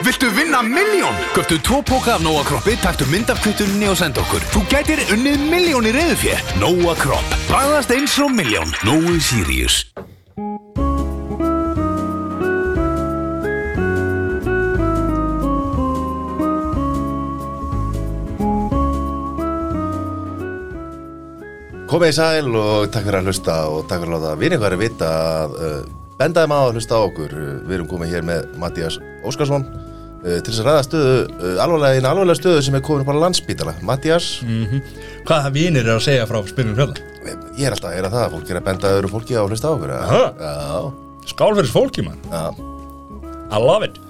Viltu vinna miljón? Göftu tvo póka af Nóa Kroppi, taktu mynd af kvittunni og senda okkur. Þú gætir unnið miljón í reyðufjö. Nóa Kropp. Bræðast eins og miljón. Nói Sirius. Komið í sæl og takk fyrir að hlusta og takk fyrir að láta vinni hverju vita að uh, bendaði maður að hlusta á okkur. Uh, við erum komið hér með Mattías Óskarsson uh, til þess að ræða stöðu, uh, alvarlega, eina alvarlega stöðu sem er komin upp á landsbítala. Mattías, Mm. Hvað það vinir er að segja frá hérna? spilum fjölda? ég er alltaf að heyra það að fólk er að benda öðru fólki á að hlusta á okkur. eða? Aha. Já, Skál fyrir fólki mann, já, I love it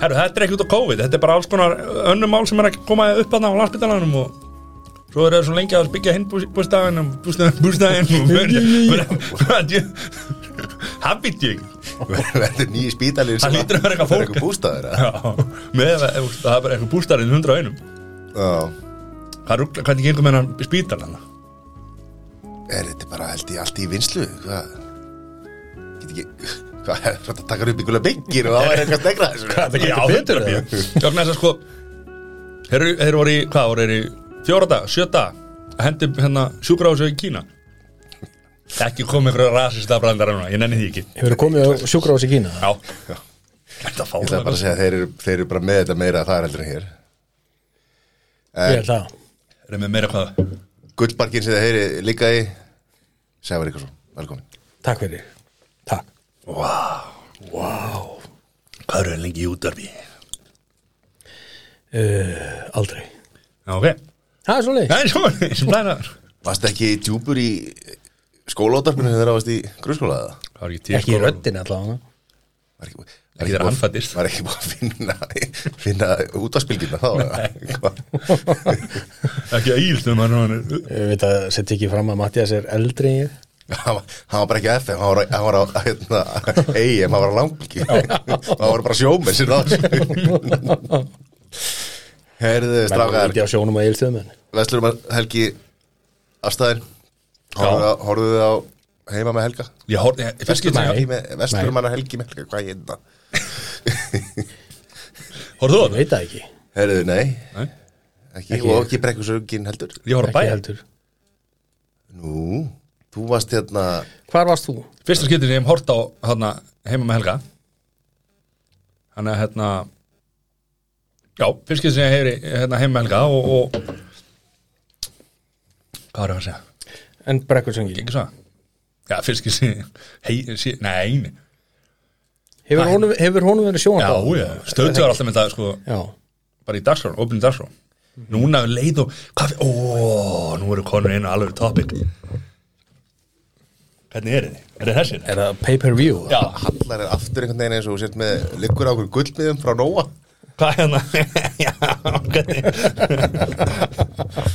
Herru, þetta er ekki út á COVID, þetta er bara alls konar önnum mál sem er að koma upp aðna á landsbytalanum og svo er það svo lengi að byggja hinn bústæðin og bústæðin, bústæðin og verður það býtti ég ekki verður nýji spítalinn Það hlýtur að vera eitthvað það er fólk. eitthvað bústæður. eða? Já, með að ef- það er bara eitthvað bústæðin hundra einum Já, Hvað rugla, hvernig gengur með hann spítalana? er þetta bara held ég allt í vinslu? Hvað, get ekki, hvað, þetta takkar upp ykkurlega byggir og það er eitthvað stegra þessu. Hvað, það getur betur að býja Jókn þess að sko Þeir eru- þeir voru í, hvað voru þeir í fjóra dag, sjö dag að hendi hérna sjúkrahúsu í Kína Ekki komið einhverju rasista brandar núna, ég nenni því ekki Hefur þú komið á sjúkrahús í Kína? Já, þetta fá Ég ætla bara að segja að þeir eru, þeir eru bara með þetta meira að það er heldur en hér Ég held það Erum við meira hvað Gullbarkin sem þið heyri líka í Sævar Ríkarsson, velkomin Takk fyrir Takk Hvað eru þeir lengi í útvarfi? uh, Aldrei Já, ok Það er svo leið Nei, svo, sem blæðar Varst ekki djúpur í skólótarpinu þegar það varst í grunnskóla eða? Það var ekki Ekki í tískóla. röddin allavega Var ekki, var Ekki þegar búið- hann fæddist. Var ekki búið að finna, finna útaspilgirna þá Hvað? Ekki að ílstum hann hann er- eh, Ég veit að setja ekki fram að Mattias er eldri en ég Hann var- hann var bara ekki á FM, hann var, á- hann var á hérna, EIM, hann var á langbyggi Hann var bara sjómenn sér það Herðu, Menn strákar ekki á sjónum að eilstöðum en Veslurum helgi afstæðin Horfðu þið á heima með helga Ég horfði, ég fyrst getur Nei. Veslurum helgi með helga, hvað ég hérna? þetta Horfðu þú á Ég það? veit það ekki Herðu, nei, Nei. ekki, Ekki. og ekki brekkur sögin heldur Ég horfði á Ekki bæja heldur Nú, þú varst hérna Hvar varst þú? Fyrsta skiptið sem ég hef hort á hana, heima með Helga Þannig að hérna Já, fyrst skiptið sem ég hef hérna, heima með Helga og, og Hvað var ég að segja? En brekkursöngi Gengur svo? Já, fyrst skiptið sem hei, sí, Nei, eini Hefur honum, hefur honum verið sjónum Já, já, stöðtu var alltaf með það sko Já bara í dagskrán, opnum dagskrán Núna er leið og kaffi Ó, nú eru konur einu alveg topic Hvernig er þið? Er þið þessir? Er það pay per view? Já, Hallar er aftur einhvern veginn eins og þú sért með liggur á okkur gullmiðum frá Nóa Hvað hérna? Já, hvernig?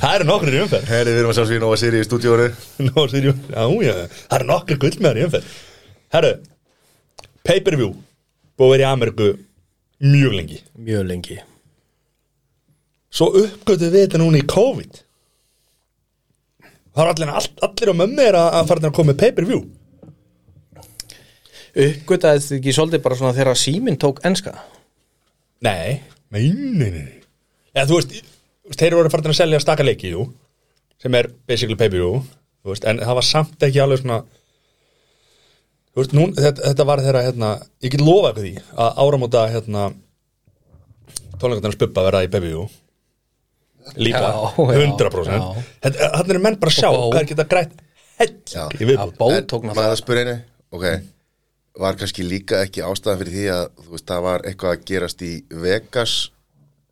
það eru nokkrir í umferð. Herðu, við erum að sjá sér Nóa Siri í stúdíónu Nó, sérjú, já, já, það eru nokkrir gullmeðar í umferð. Herru, pay-per-view, búið að vera í Ameríku mjög lengi. Mjög lengi Svo uppgötu við þetta núna í COVID. Það eru allir, all, allir á mömmu er að, að fara að koma með pay-per-view. Uppgötaði þið ekki svolítið bara svona þegar síminn tók enska? Nei, nei, nei, nei. Eða þú veist, þú veist, þeir voru farin að selja staka leiki, jú, sem er basically pay-per-view, þú veist, en það var samt ekki alveg svona, þú veist, núna, þetta, þetta var þeirra, hérna, ég get lofa ykkur því að áramóta, hérna, tónleikarnar spubba verða í pay-per-view, líka, Já, já, 100%. já. Þetta, þannig eru menn bara að sjá, Og bó. hvað er geta grætt, Já. hell, ég Já, viðbútt. bó En maður tók náttúrulega að spura einu ok, var kannski líka ekki ástæðan fyrir því að þú veist, það var eitthvað að gerast í Vegas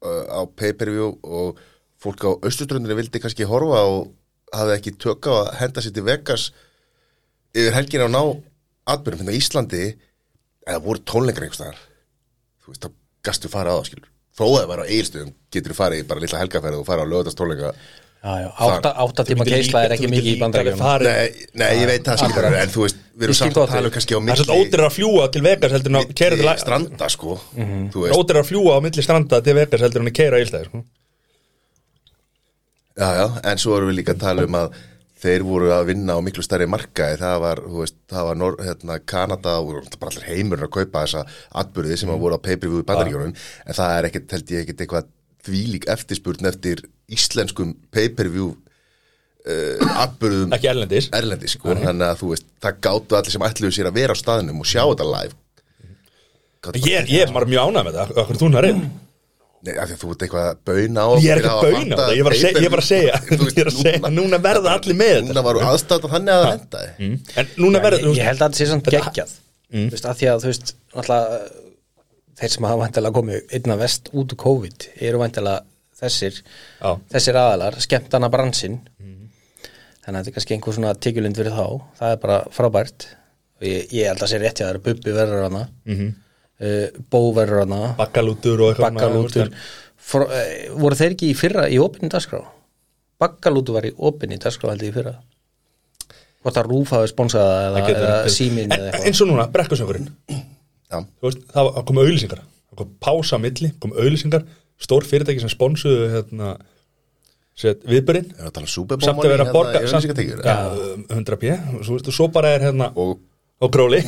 uh, á pay-per-view og fólk á austurströndinu vildi kannski horfa og hafði ekki tök á að henda sér til Vegas yfir helgina og ná atbyrjum hérna á Íslandi eða voru tónleikar einhverstaðar þú veist, þá gastu fara á það skilur þó að það var á eigilstöðum, getur þú farið í bara lilla helgafærið og fara á lögatastónleika Já, já, átta, átta tíma geisla er ekki mikið í bandaríkjum Það Nei, nei, ég veit það skilur en þú veist, við Ég erum skil samt gott að tala um við. kannski á er milli svolítið ódýrar að fljúa til Vegas heldur en að kæra til milli stranda sko þú veist, Rótir að fljúa á milli stranda til Vegas heldur Hm? hann að keira ílstæði sko. já já en svo erum við líka að tala um að þeir voru að vinna á miklu stærri markaði það var, þú veist, það var Nor hérna, Kanada og það bara allir heimurinn að kaupa þessa atbyrði sem Mhm. að voru á pay-per-view í bandaríkjónum en það er ekkit, held ég ekkit eitthvað þvílík eftirspurn eftir íslenskum pay-per-view uh, atbyrðum ekki erlendis erlendis sko, þannig að þú veist, það gátu allir sem ætluðu sér að vera á staðnum og sjá þetta live Gátu ég, er- ég er bara mjög ánæg með það, okkur þú nærinn Nei, af því að þú ert eitthvað að bauna á Ég er fyrir ekki að bauna á vanta það, ég var að segja- ég var að segja Þú veist, Ég er að segja, núna verða allir með þetta. Mm. Núna varu aðstæða þannig að það endaði en núna Ég, verður ég held að þetta sé samt geggjað Þú veist, að því að þú veist náttúrulega uh, þeir sem hafa vantilega komið einna vest út úr COVID eru vantilega þessir Já. þessir aðalar, skemmtana bransinn þannig að þetta er kannski einhver svona tíkjulind fyrir þá, það er bara frábært og ég, ég held að sé rétt hjá þær Bubbi verður hana mm -hmm. Bó verður hana, bakkalútur og eitthvað Bakkalútur Frá, eh, voru þeir ekki í fyrra í opinni dagskrá? Bakkalútur var í opinni dagskrá held ég í fyrra Hvort að Rúf hafi sponsað það Það eða, getur eða verið. síminn En- eða eitthvað eins og núna, brekkusöngurinn Já, Þú veist, það var- komu auðlýsingar það kom pása á milli, komu auðlýsingar stór fyrirtæki sem sponsuðu hérna, set, viðbyrinn erum við að tala um Super Bowl samt að vera hérna, að borga Ég samt, ekki tegur ja, 100 p og svo, veistu, svo bara er hérna og, Og gróli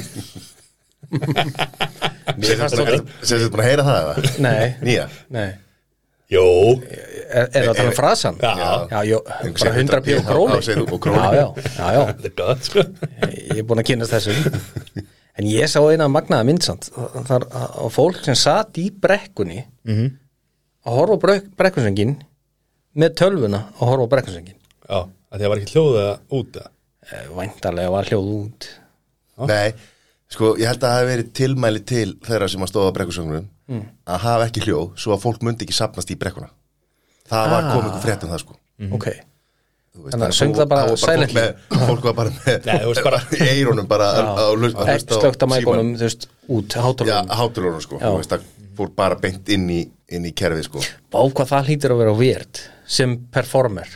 mér finnst það Sem þið búin að heyra það eða? Nei. Nýja Nei, Jó, er, er það að tala um frasan? Já. já jó, Ég bara segi 100 pjó 100p króni Já, segðu, og krónu. Já, já, já, já þetta er gott sko. Ég er búin að kynast þessu En ég sá eina magnaða myndsand Þar á fólk sem satt í brekkunni að horfa á brek- brekkusöngin með tölvuna að horfa á brekkusöngin Já, að því það var ekki hljóða út eða? Væntarlega Eh, var hljóð út Nei, sko, ég held að það hafi verið tilmæli til þeirra sem að stóða á brekkusöngunum Mm. að hafa ekki hljóð svo að fólk myndi ekki sapnast í brekkuna Það var Ah. komið ykkur frétt um það sko Mhm. ok Þú Þannig að söng það bara þá var fólk, silently. með, fólk var bara með Nei, þú veist, bara- í eirónum bara að- að hlust- að hlusta á slögt að símann. mækunum þú veist út Já, hátalunum hátulónum sko, Já. þú veist, það fór bara beint inn í, inn í kerfið sko á hvað það hlýtur að vera weird sem performer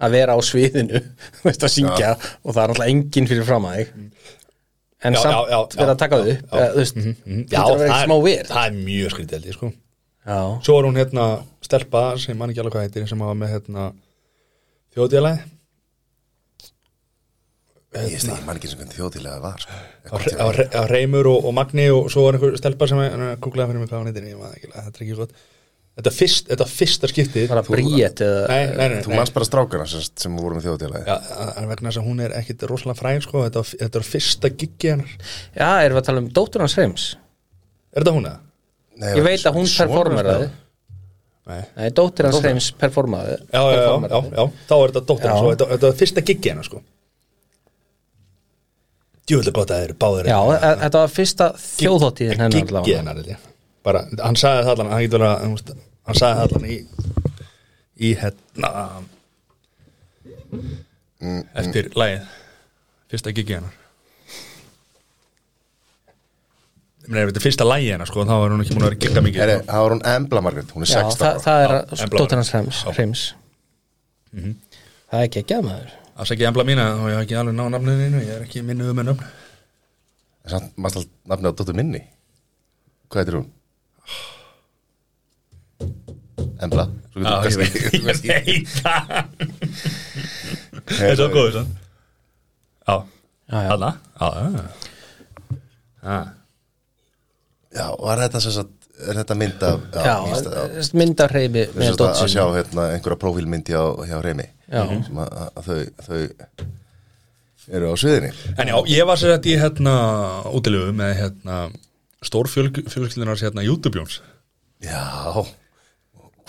að vera á sviðinu þú veist að syngja og það er alltaf enginn fyrir fram að þig en Já, já, samt já, já, vera að taka já, þau já. Mhm, upp eða, þú veist Já, hlýtur að það vera smá er, weird það er mjög skrítið held ég sko. já Svo var hún hérna stelpa sem mann ekki alveg hvað heitir sem var með hérna þjóðdélagi Ég veist ekki, mann ekki sem hvernig þjóðtilega var sko. Eitthvað á Re- á Reymur og, og Magni og svo var einhver stelpa sem kúklaði fyrir mig hvað hann heitir ég maður ekki, þetta er ekki gott þetta, fyrst, þetta fyrsta skiptið bara bríet eða nei, nei, nei, Þú nei. manst bara strákana sem, sem voru með þjóðtilega Já, en vegna þess að hún er ekkit rosalega fræg sko, þetta, var- þetta er fyrsta giggi hennar er já erum við að tala um dóttur hans heims þetta hún eða? Nei, ég veit að hún svona- performeraði Nei. nei dóttur hans heims performaði Já, já, já, já, já, þá er þetta dóttir Já. hans og þetta, þetta er fyrsta giggi hennar sko djúvilega gott að þeir eru báðir hérna. já e- þetta var fyrsta þjóðháttíðin hennar giggi allavega. hennar held ég. bara, hann sagði það allan hann, getur verið að, þú veist, hann sagði það allan í í hérna eftir lagið fyrsta giggi hennar ég meina, ef þetta er fyrsta lagið hennar sko, þá var hún ekki múin að vera að gigga mikið Herri, sko. það var hún Embla Margrét, hún er Já, 16 ára það, það er Já, að- en blá. dóttir hans Hrems, Já. Mhm. Hrems. Það er ekki ekki að maður afsækja embla mína og ég hef ekki alveg ná nafninu ég er ekki minnuðu með nafn Samt manst allt nafnið á dóttur minni Hvað heitir hún? Embla Svo getur þú kannski- þú ég kannski- veit það þetta er svo góður svo já, Já, já. alla já, Ah. já já Já, var þetta sem sagt, er þetta mynd af Já, ég veist það, já myndarheifi Þess með að, að sjá dóttir hérna, einhverja prófílmyndi á, hjá Reymi Já. sem að, að þau, þau eru á sviðinni En já, ég var sér þetta í hérna útilegu með hérna stórfjölskyldunar hérna YouTube-jóns Já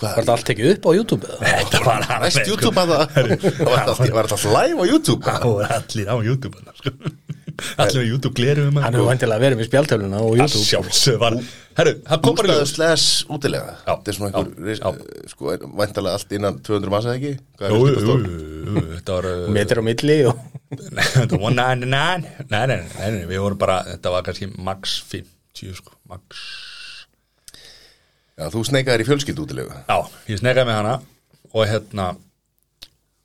Var Hvað, þetta allt tekið upp á YouTube eða? Þetta var hann næst YouTube að það var þetta allt- var þetta allt live á YouTube Það voru allir á YouTube hann, sko. Allir á YouTube glerum um Hann hefur vantilega verið með spjaltöluna og YouTube Sjálfsög var Herru, það kom bara í Bústaðu ljós slæs útilega Já. Þetta er svona einhver, ris- Já. sko, væntalega allt innan 200 massa ekki Hvað er Jú, jú, þetta stór? jú, Þetta var uh, Metir á milli og nei, Þetta var 199 Nei, nei, nei, nei, nei, við vorum bara Þetta var kannski max 50 sko, max Já, þú sneikaðir í fjölskyld útilega Já, ég snekkaði með hana og hérna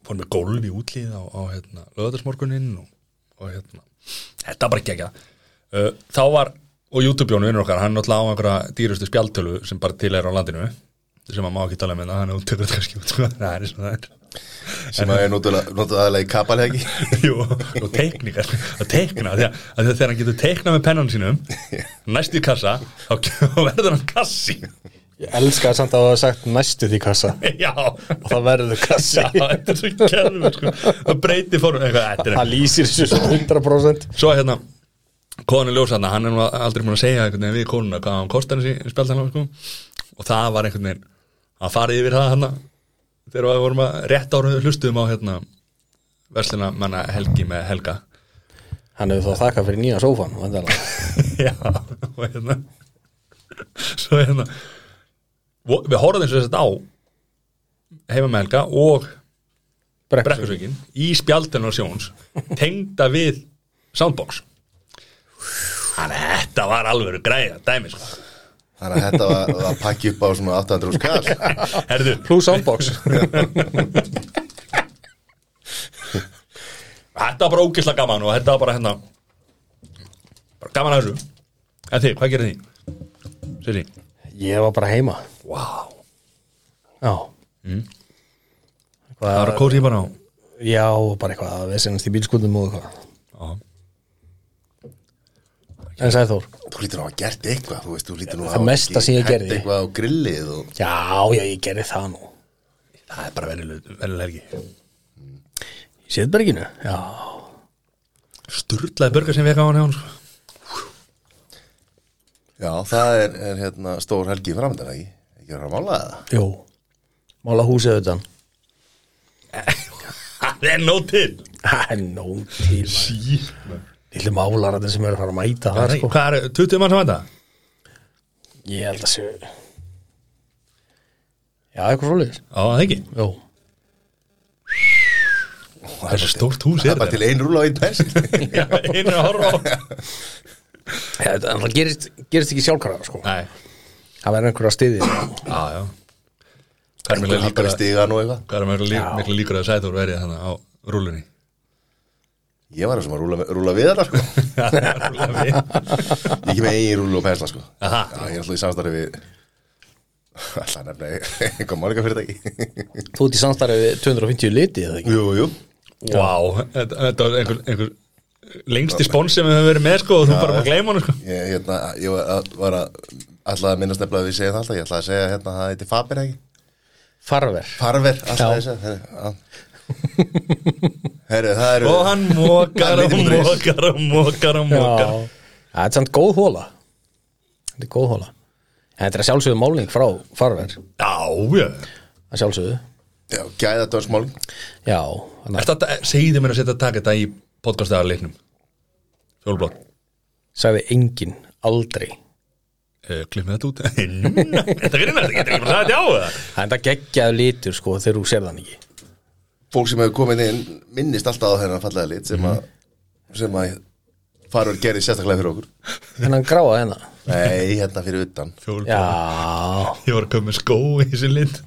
fór með gólf í útlið á, á hérna, lögðarsmorguninn og, og hérna þetta var bara gegja uh, þá var, og YouTube-jónu vinnur okkar hann náttúrulega á einhverja dýrustu spjaltölu um hérna, sem bara til er á landinu sem að má ekki tala með það, hann er úttökur kannski út, sko, það er eins og það er sem að er notuð aðlega í kapalhegi Jú, og teikningar að teikna, af því að, að þegar hann getur teiknað með pennan sínum næst í kassa þá þá verður hann kassi Ég elska samt að það var sagt næstu því kassa já, og það verður kassi já, þetta er svo kerfum sko. það breytir fórum eitthvað, þetta er það lýsir þessu svo 100% svo hérna konu ljósanna, hann er nú aldrei múin að segja einhvern veginn við konuna hvað hann kostar þessi spjaldanlega sko. og það var einhvern veginn að fara yfir það hann þegar við vorum að rétt ára hlustuðum á hérna verslina manna Helgi með Helga Hann hefur þá þakkað fyrir nýja sófan vandalega. já, og hérna svo hérna vo- við horfðum eins og þetta á heima með Helga og Brekkusvík brekkusökin í spjaldinu og sjóns tengda við soundbox þannig að þetta var alveg græða dæmi sko. þannig að þetta var var að pakki upp á svona 800 skall herðu, Plus soundbox þetta var bara ógislega gaman og þetta var bara hérna bara gaman að þessu en þið, hvað gerir því? Sér því, Ég var bara heima wow Já það var að kósi bara á Já, bara eitthvað að við sinnast í bílskutum og eitthvað Já. En sagði Þór þú lítur á að hafa gert eitthvað þú veist, þú lítur nú Það mesta sem ég gerði. hætt eitthvað á grillið og Já, já, ég gerði það nú það er bara venjuleg venjuleg helgi Í Sýðberginu? Já sturlaði börgar sem við ekki á hann hjá hann sko. já, það er, er hérna stór helgi framöndan ekki, ekki verið að mála það Jú Mála húsið utan það er nóg til Það er nóg til sí. Lillu málararnir sem eru að fara að mæta það sko. hvað er, 20 mann sem þetta? Ég held að sé Já, eitthvað svoleiðis á það ekki, Jó það er svo stórt hús það er er bara til ein rúla og ein pers Já, einu að horfa á Það náttúrulega gerist, gerist ekki sjálfkrafa sko. Nei, Það verður einhverja stiði já, já Hvað er mikla líkur líkar að stiga nú eitthvað Hvað er mikla líkur, Já. mikla líkur að Sæþór verið þannig á rúlunni ég var þessum að rúla, rúla við þarna sko Já, Ég kem með eigin rúlu og pensla sko Aha. Já, Ég er alltaf í samstarfi við Alltaf nefna eitthvað málika fyrirtæki Þú ert í samstarfið við 250 liti eða ekki? Jú, jú Vá, þetta þetta var einhver, einhver lengsti spons sem við höfum verið með sko og þú bara maður gleyma hann sko Ég, hérna, ég var að- var að alltaf að minnast nefnilega að við segjum það alltaf Ég ætlaði að segja hérna að það heiti Faber ekki Farver Farver, alltaf Já. þess að segja Herru, það eru Og hann mókar og Hann heitir mókar og mókar og mókar Já, það er samt góð hóla Þetta er góð hóla En Þetta er að sjálfsögðu málning frá farver að Já, já sjálfsögðu Já, gæða dönsmál Já, þannig að Ertu að- Segðu mér að setja að taka þetta í podcastaðar leiknum Fjólblótt sagði enginn aldrei Eh, Klipp með þetta út Núna, Þetta grinn þetta getur ekki bara sagði þetta á það Það er þetta geggjaðu litur sko þegar þú sér þann ekki Fólk sem hefur komið inn minnist alltaf á þennan fallega lit Mhm. sem að, sem að Farver gerði sérstaklega fyrir okkur Þennan gráða hennar Nei, hérna fyrir utan Fjólblótt Já, Ég var að koma með skó í þessi lit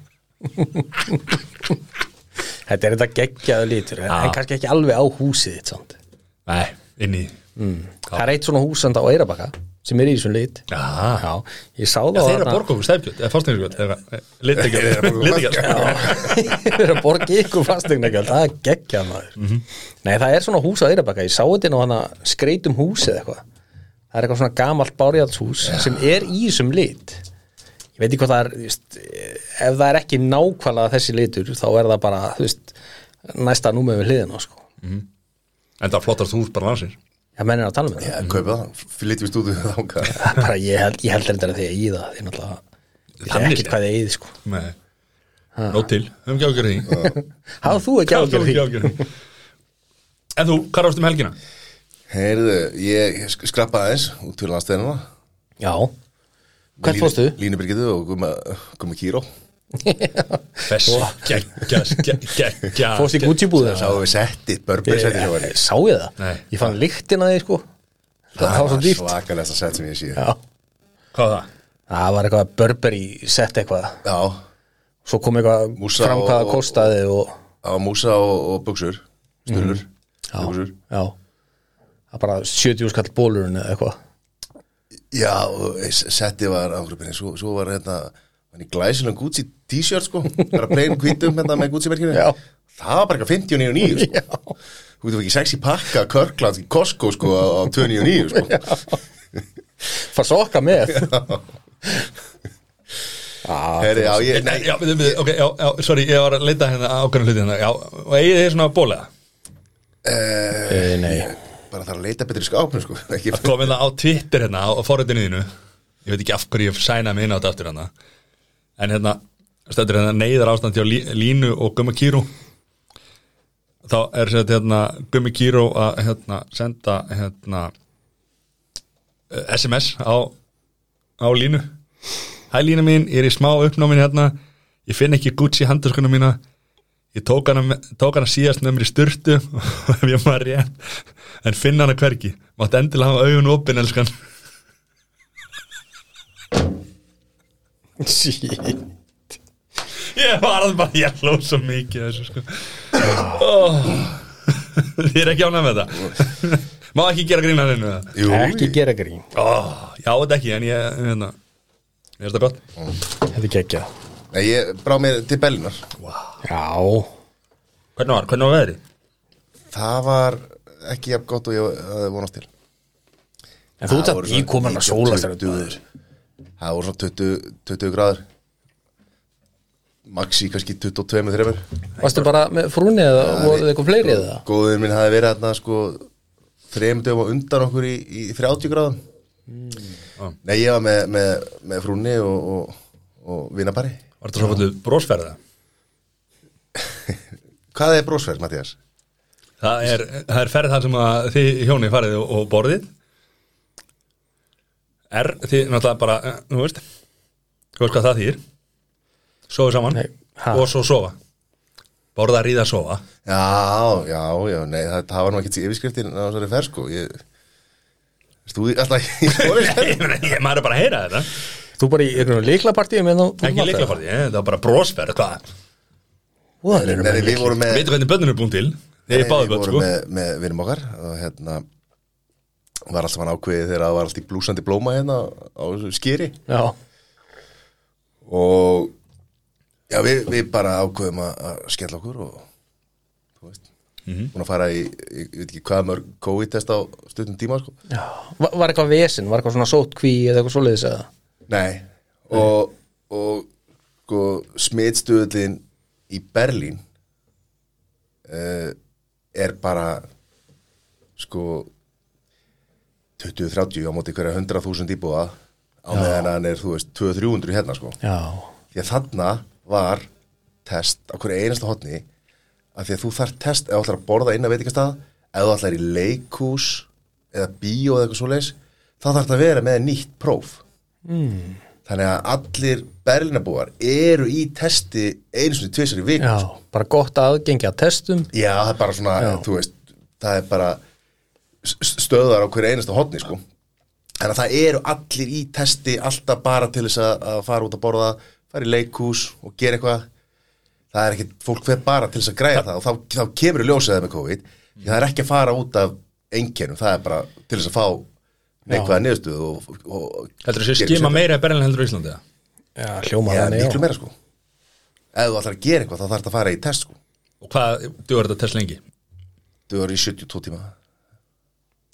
þetta er þetta geggjaðu litur en, Já. en kannski ekki alveg á húsið þitt samt. Nei, inn í mm. Það er eitt svona húsand á Eirabakka sem er í þessum lit Já, Já, ég sá það þeir eru að borga okkur stefgjöld eða fástæðingjöld, Þeir eru að litigjöld borga litigjöld, Þeir eru að borga ykkur fastegnagjöld Það er geggjað maður Nei, það er svona hús á Eirabakka Ég sá þetta nú hana skreitum hús eða eitthvað Það er eitthvað svona gamalt bárjaldshús sem er í þessum lit Ég veit ekki hvað það er þú veist, Ef það er ekki nákvæmlega þessi litur þá er það bara, þú veist næsta númið við hliðina, sko en það flottast hús bara landsins Já, menn er að tala með það Já, kaupið það, flytjum við stúdíu þangað Það er bara, ég held, ég held reyndar að því að ég í það því náttúrulega Ég veit Þannig ekki séð. hvað þið eigið, sko Nei, nót til, höfum ekki ágjörði því Hafðu þú ekki ágjörð því? ágjörði því En þú, hvað ráðst um helgina? Heyrðu, ég sk- skrappaði aðeins út fyrir landstæðina Já Hvert fórstu? Línubyrgitu og Guma, Guma Kíró Bess, geggja, geggja Fórstu í Gucci búðið? Sá við settið, Burberry settið hjá henni Ég- Sá ég það? Nei. Ég fann lyktin að því sko Það, það var svo dýrt svakalegsta sett sem ég sé Já, Já. Hvað var það? Það var eitthvað Burberry sett eitthvað á Svo kom eitthvað Músa fram hvað það og- kostaði og, músa og, og buksur Sturlur, buksur Mhm. Já Það bara 70 skall bólurinn eða eitthvað Já, og eh, s- settið var ágrupinni Svo, svo var hérna hann í glæsilegum Gucci t-shirt sko Bara plain hvítum hérna með Gucci merkinu Já. það var bara eitthvað 59.9 sko. þú veitum ekki sexy pakka körkla til Costco sko á á 29.9 sko. fara sokka með já, Heri, já, ég, Nei, nei, já, við, við, ok, já, já, sorry, ég var að leita hérna ákveðna hluti hérna, já, og eigið þið svona bólega Eh, nei bara þarf að leita betri skápnum sko ekki, að koma hérna á Twitter hérna á, á forritinu þínu, ég veit ekki af hverju ég sæna mig inn á þetta aftur hérna en hérna, stöndur hérna neyðar ástand hjá Lí- Línu og Gummi Kíró þá er sér hérna Gummi Kíró að hérna senda hérna eh, SMS á, á Línu Hæ Lína mín, ég er í smá uppnámin hérna ég finn ekki Gucci handurskuna mína Ég tók hana, me- tók hana síðast með mér í styrtu og ef ég maður rétt en finna hana hvergi mátt endilega hafa augun opin elskan ég var að bara ég hló svo mikið að þessu sko oh. þið er ekki ánægð með þetta má ekki gera grína hann einu það jú, ekki gera grín oh, já þetta ekki en ég hérna, ég veist það gott þetta er gekkja nei, ég brá mér til Bellinar já, hvernig var, hvernig var veðrið? það var ekki jafn gott og ég hafði vonast til en þú Það ert voru að svona ég kom hann 19, að sóla þessari 20 duður það voru svona 20, 20 gráður maxi kannski 22-3 varstu bara með frúni eða voruð þið eitthvað fleiri eða góður minn hafi verið þarna sko þrejum dögum á undan okkur í, í 30 gráðum nei ég var með, með, með frúnni og, og, og vinabari var þetta svo fóttu brósferða? hvað er brósverð Mattias? Það er, það er ferð þar sem að þið hjóni farið og, og borðið Er, þið náttúrulega bara, eh, þú veist Þú veist hvað það þýr Sofa saman Nei, ha? og svo sofa Borða, ríða, sofa já, já, já, nei það, það var nú ekki yfirskriftin á þessari ferð sko ég stúði alltaf í Nei, skóli nei, ég- Maður er bara að heyra þetta þú bara í hérna einhvern leiklapartíu með þú Ekki líkla farið, það eh, var bara brósferð hvað? nei, nei, við vorum með Veitu hvernig bönnur er búin til Þeir er Nei, báðu við bönn, vorum sko með, með vinum okkar og hérna var alltaf hann ákveðið þegar það var alltaf í blúsandi blóma hérna á þessu skýri já, og já, við, við bara ákveðum að, að skella okkur og þú veist Mhm. búin að fara í, í, ég veit ekki hvað mörg COVID-test á stuttum tíma sko. já. Var, var eitthvað vesen, var eitthvað svona sótkví eða eitthvað svoleiðis eða nei og, og sko, smitstuðlin í Berlín uh, er bara sko 20-30 á móti hverja 100.000 íbúa á meðan hann er, þú veist, 200-300 hérna sko já, því að þarna var test á hverju einasta hotni að því að þú þarf test ef þú ætlar að borða inn að veitingastað ef þú ætlar í leikús eða bíó eða eitthvað svoleiðis þá þarf þetta að vera með nýtt próf mm. þannig að allir berlinabúar eru í testi einu svona tvisar í vik já, bara gott aðgengi að testum já, það er bara svona, þú veist það er bara s- s- stöðar á hverju einasta hotni sko þannig að það eru allir í testi alltaf bara til þess að, að fara út að borða fara í leikús og gera eitthvað það er ekki, fólk fer bara til þess að græja það og þá, þá kemur í ljósaðið með COVID því það er ekki að fara út af einkennum það er bara til þess að fá neikvæða niðurstöð og, og, Heldur þessi gera skima sér- meira í Berlin heldur í Íslandi eða? já, hljóma Já, þannig, miklu já. meira sko ef þú ætlar að gera eitthvað þá þarf það að fara í test sko Og hvað, þú verður þetta test lengi þú eru í 72 tíma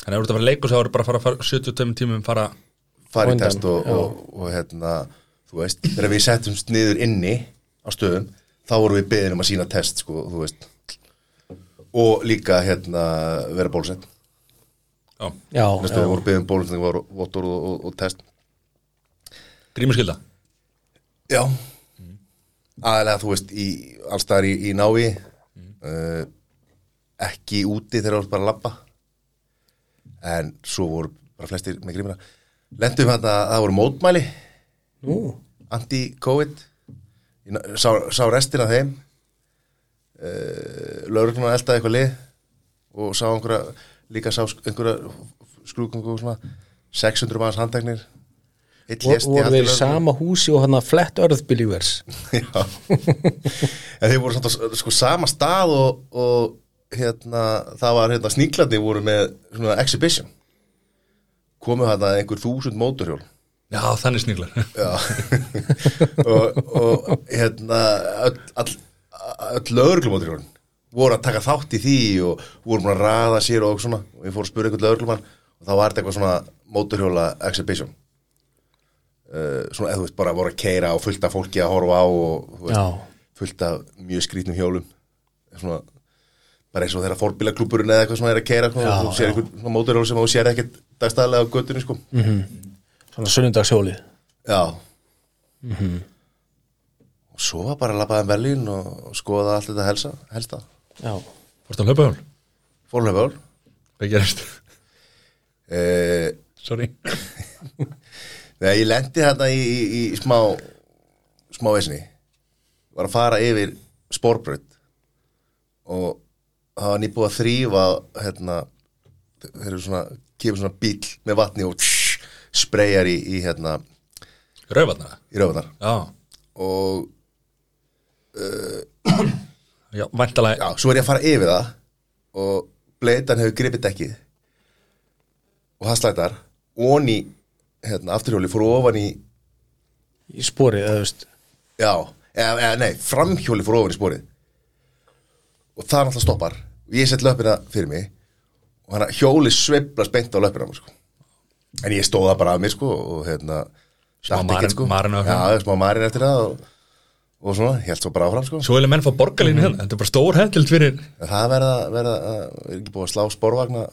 Þannig að þú verður að fara leikus þá verður bara að fara- fara 72 tímum fara fara í Undan, test og, og, og hérna, þú veist, þegar við settumst niður inni á stöðum, þá vorum við beðin um að sína test, sko, þú veist og líka, hérna vera bólusett, Já, já, næstu já. við vorum beðin um bólusett var vottor og, og, og test grímuskylda Já aðalega, þú veist, í allstaðar í, í návi uh, ekki úti þegar þú ert bara að labba en svo voru bara flestir með grímina lendum við hérna, það voru mótmæli Nú, anti-covid Ég ná- sá, sá restin af þeim uh, laurugluna eldaði eitthvað lið og sá einhverja líka sá sk- einhverja skrúkungu og svona 600 manns handteknir Einn vor- lést í voru haldi þeir í lögreglu. sama húsi og hann að flett earth believers Já. en þeir voru samt á s- sko, sama stað og, og hérna, það var hérna, sníklandi voru með svona exhibition komu hérna einhver þúsund móturhjól Já, þannig sniglar og, og hérna öll, all, öll lögreglumóturhjólin voru að taka þátt í því og voru búin að raða sér og svona og ég fór að spura einhvern lögreglumann og þá var þetta eitthvað svona móturhjóla exhibition uh, svona eða þú veist bara voru að keira og fullt af fólki að horfa á og þú Já. veist, fullt af mjög skrýtnum hjólum svona bara eins og þeirra fórbílaklúburinn eða eitthvað svona er að keira svona, Já, Mm. og þú sér einhvern móturhjóla sem þú sér ekkert dagstæðlega á göttunni sko Svona sunnundagshjólið Já Mhm. Og svo var bara að labbaðan velin og skoða allt þetta helsa, helsta Já, Fórstu að hlaupa hjól? Fórlega vel Hvað gerist? eh, Sorry Þegar ég lendi þarna í, í, í smá smá vesinni var að fara yfir spórbröð og það var nýbúið að þrýfa hérna, þeir eru svona kemur svona bíl með vatni og tss, spreyjar í, í, hérna, Rauðvatna? í röfunar Já og Já, væntalega já, svo er ég að fara yfir það og bleitan hefur gripið dekkið og það slætar og í hérna, afturhjóli fór ofan í í sporið, eða þú veist já, eða, eða nei, framhjóli fór ofan í sporið og það náttúrulega stoppar og ég sett löpina fyrir mig og hann hjóli sveifla spennt á löpina á mér, sko. en ég stóða bara að mér sko, og hérna Smá datt sko. marin- marin á já, smá marin eftir það og, og svona, ég held svo bara áfram sko. Svo vilja menn fá borgarlínu hérna Þetta er bara stór hendild fyrir en það verða, verða er ekki búið að slá sporvagna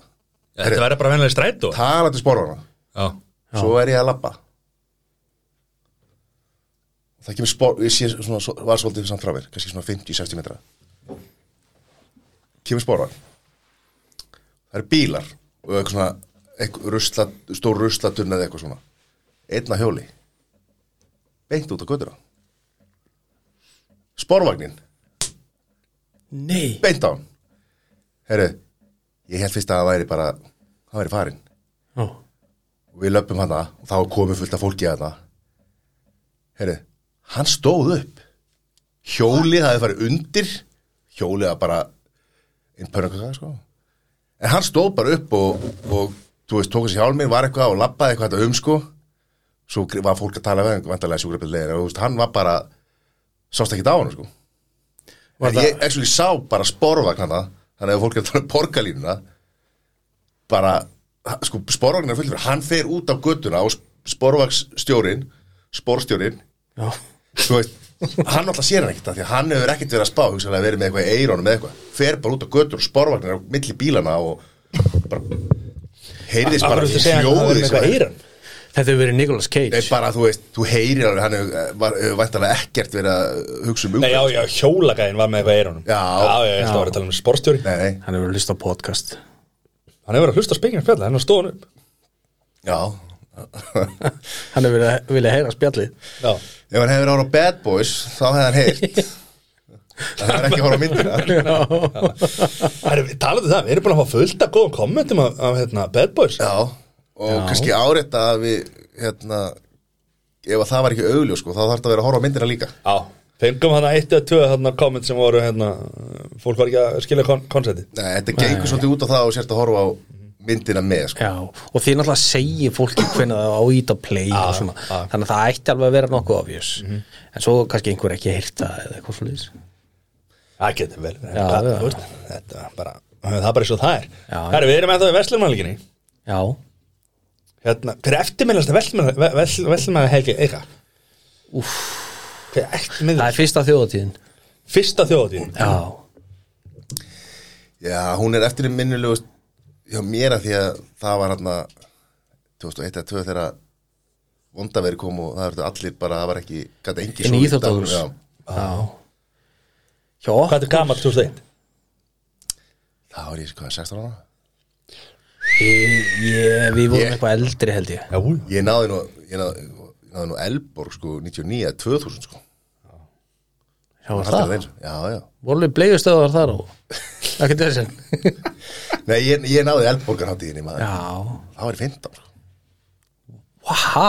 Þetta verður bara venlega strætó talandi sporvagna Já svo er ég að labba það kemur spór ég sé svona, svo- var svolítið samt frá mér kannski svona 50-60 metra kemur spórvagn það eru bílar og eitthvað svona eitthvað rusla, stór ruslaturn eða eitthvað svona einna hjóli beint út á götuna spórvagnin Nei, beint á hann herru, ég held fyrst að það væri bara það væri farinn já, og við löpum hana og þá komið fullt af fólki hana herri, hann stóð upp hjólið hafði farið undir hjólið að bara einn pönnakaka sko en hann stóð bara upp og, og þú veist, tók þessi hjálminn, var eitthvað og lappaði eitthvað þetta um sko svo gr- var fólk að tala við hann, vantarlega sjúkrabillegin og þú veist, hann var bara sást ekki á hann sko var en það ég actually sá bara sporvagnana þannig að fólk er að tala um borgarlínuna bara, sko, sporvagnar fullir fyrir, hann fer út á göttuna og sporvagsstjórin sporstjórin, Já, þú veist hann alltaf sér hann ekkert af því að hann hefur ekkert verið að spá hugsaðlega verið með eitthvað í eirónum eða eitthvað fer bara út á göttur og sporvagnar á milli bílana og bara heyrðist bara Akkur viltu segja að það hljóðið sem verður með eitthvað var- eiran þetta hefur verið Nicolas Cage Nei, bara, þú veist, þú heyrir alveg, hann hefur eh, var- hefur væntanlega ekkert verið að hugsa um Nei, já, umhverfið. já, hjólagæðin var með eitthvað eiranum Já. Já, já, ég ætla að vera að tala um sportstjóri Nei, nei, Hann hefur verið að hlusta á podcast Hann hefur verið að hlusta spengina fjalla, hann var stóðan upp já Hann hefur verið að vilja heyra spjallið Já Ef hann hefði verið að horfa á Bad Boys þá hefði hann heyrt Það hefði ekki að horfa á myndina Herru, við talaðu það, við erum búin að fá fullt af góðum kommentum af, af hérna, Bad Boys Já, og kannski árétta að við hérna, ef að það var ekki augljó sko, þá þarf það að vera að horfa á myndina líka Já Fengum hann að eitt eða tvö þarna komment sem voru hérna Fólk var ekki að skilja kon konsepti Nei, þetta gengur svolítið út á það og sérst að horfa á myndina með sko. Já, og því náttúrulega segir fólki hvernig það á ít að play og svona Þannig að það ætti alveg að vera nokkuð obvious En svo kannski einhver ekki heyrta eða eitthvað slúðis Það getur vel verið. Já, Hvað- já. þú veist, Þetta er bara, það er bara eins og það er Já, já. Herru, við erum eftir veslumannleikinni Já, hérna, Hver er eftirminnast veslumannleik helgi eitthvað? Úff Hver er það eftirminnast? er fyrsta þjóðatíðin Fyrsta þjóðatíðin Já, Já, hún er eftir minnulegust hjá mér að því að það var hérna 2001 eða 2 þegar vondaveri kom og það verður allir bara, það var ekki, gæti engi Inn í íþróttahús. já Hjá Hvað er gamall 2001? Það var ég, hvað, 16 ára? Ég, ég- við vorum Ég- eitthvað eldri held ég Já, jú Ég náði nú, ég náði, ég náði nú Elborg sko 99 eða 2000 sko Já, var Alltaf það, þeir, Já, já voru við bleigustöðar þar og ekkert þessin Nei, ég, ég náði Elborgarháttíðinni maður Já, Það var í 15 sko waha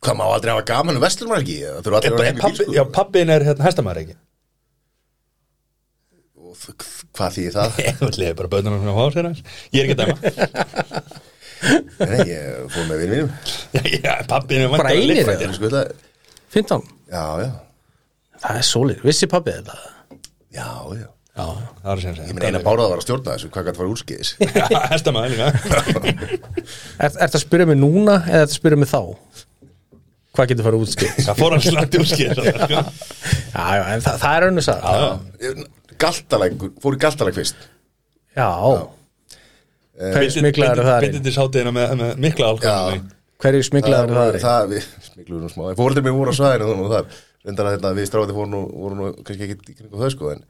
Hvað, má aldrei hafa gaman um vestlumælgi? Það þurfa allir að vera Er heim í pabbi- bíl Já, sko pappin er hérna hæstamæður ekki Og þ- Hvað þýðir það? Ég ætlaði bara bönnum hann á hásina Ég er ekki að dæma Nei, ég fór með vinum mínum Já, já, pappin er Bara væntanlega einir leikfræðingur. Þetta er sko þetta 15, Já, já það er sólið, vissi pappið þetta Já, já, já Já, það er sem sem Ég meina eina bárað var að stjórna þessu, hvað gæti að fara úrskeiðis Já, hestamæður líka Er þetta að spyrja mig núna eða þetta að spyrja mig þá? Hvað getur farið útskýrt? Það fór hann slætti úr skýr Já, já, já, en það, það er önnur sag Já, Galtalækur, fór í galtalæk fyrst já. Hverju smiklaður það er? Bindindis hátíðina með, með mikla Já. alkohol Hverju smiklaður það er? það við smikluðum nú smá Fóreldri mér voru á svæðinu þannig og þar Reyndar að þetta, við stráði voru nú, voru nú kannski ekki í kringu þau sko en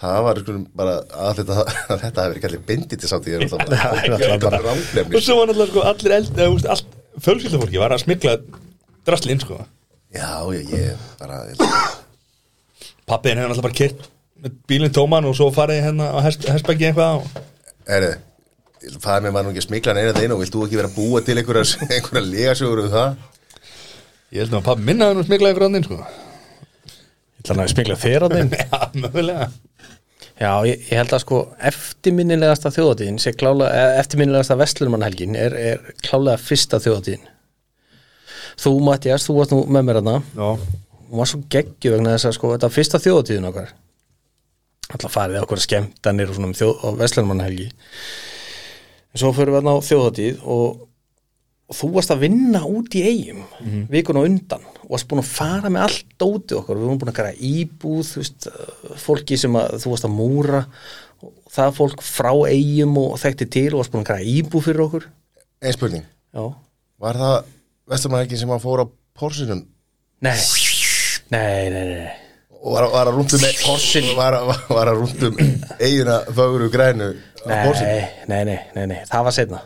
það var sko bara að þetta að þetta hafi verið kallið bindið til sátti ég er alltaf bara Og rámlefni svo var náttúrulega sko allir eld eða, úst, allt fjölskyldafólki var að smikla drastlinn sko Já, ég, ég bara ég- Pappiðin hefði náttúrulega bara kert með bílinn tóman og svo farið hérna á hest, hestbæki eitthvað á Herðu, fæði mér maður nú ekki að smikla neina þeina og vilt þú ekki vera að búa til einhverjar einhverjar legasjóður um það? Ég held nú að pappi minnaði hann að smikla ykkur andinn sko Þannig að smikla þér að þeim? Já, mögulega Já, ég, ég held að sko eftirminnilegasta þjóðatíðin sé klálega, eða eftirminnilegasta vestlunumannhelgin er, er klálega fyrsta þjóðatíðin. Þú, Mattias, þú varst nú með mér hana. Já, Hún var svo geggju vegna þess að sko, þetta var fyrsta þjóðatíðin okkar. Alltaf farið okkur skemmtanir og svona um þjóð, og vestlunumannhelgi. En svo fyrir við hann á þjóðatíð og, og þú varst að vinna út í eigum vikuna á undan og varst búin að fara með allt dótið okkar við vorum búin að gera íbúð þú veist, eh, fólki sem að, þú varst að múra og það fólk frá eigum og þekkti til og varst búin að gera íbúð fyrir okkur Einn spurning, já, var það vestamæðarkin sem að fóra á porsinum nei nei, nei, nei, nei. og var, var að rúndum porsin var, var, var að rúndum eigina fögru grænu á porsin, Nei, nei, nei, nei, nei, það var setna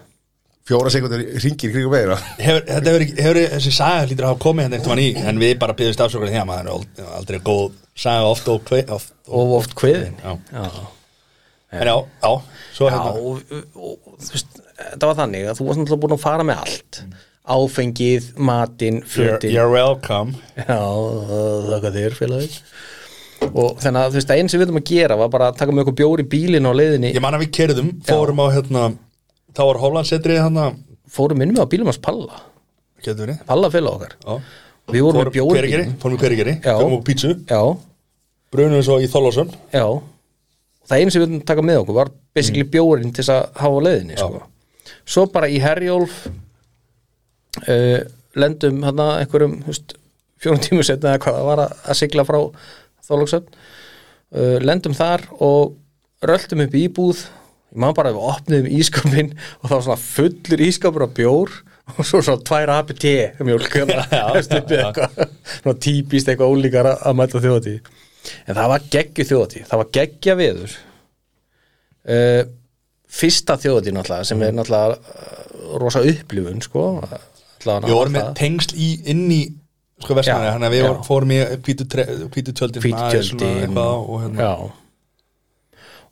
fjóra sekundir ringir kringum eigina hefur, þetta hefur, ekki- hefur þessi saga hlýtur að hafa komið hérna eitthvað í en við bara byggðist afsökar því að maður er ald- aldrei góð saga oft og kvei oft, og, og oft kviðin já. já, en já, já, svo já hérna og, og, og þú veist, þetta var þannig að þú varst náttúrulega búin að fara með allt Mm. áfengið, matinn, you're, fötin you're welcome Já, þakka þér félagir Og þannig að þú veist að einn sem við þum að gera var bara að taka með okkur bjór í bílinn á leiðinni ég man að við kerðum, fórum á hérna þá var Hollandsetrið hérna Fórum inn með á bílum hans Palla getur verið Palla félag okkar já. Við vorum með fórum bjór í hverigeri, bílinn fórum í hverigeri Já. fórum á pítsu, Já, brunum svo í Þólasum já Og það einn sem við þum að taka með okkur var basically bjórinn til þess að hafa á leiðinni sko. Svo bara í Herjólf uh, Lendum hérna einhverjum þú veist, fjórum tímu setna eða hvað það var að, að sigla frá Þorlóksöfn uh, lendum þar og röltum upp í íbúð ég maður bara að við opniðum ískapin og það var svona fullur ískapur af bjór og svo svona tvær APT mjólk hérna, Já, já, já. svona típist eitthvað ólíkar að- að mæta þjóðatí en það var geggju þjóðatí það var geggja veður uh, fyrsta þjóðatí náttúrulega sem Mm. er náttúrulega uh, rosa upplifun sko við vorum með tengsl í, inn í sko vestmæri, Já, hann að við já. vorum- fórum í hvítu tre- hvítu tjöldin svona aðeins svona fýttjöldin eitthvað og hérna já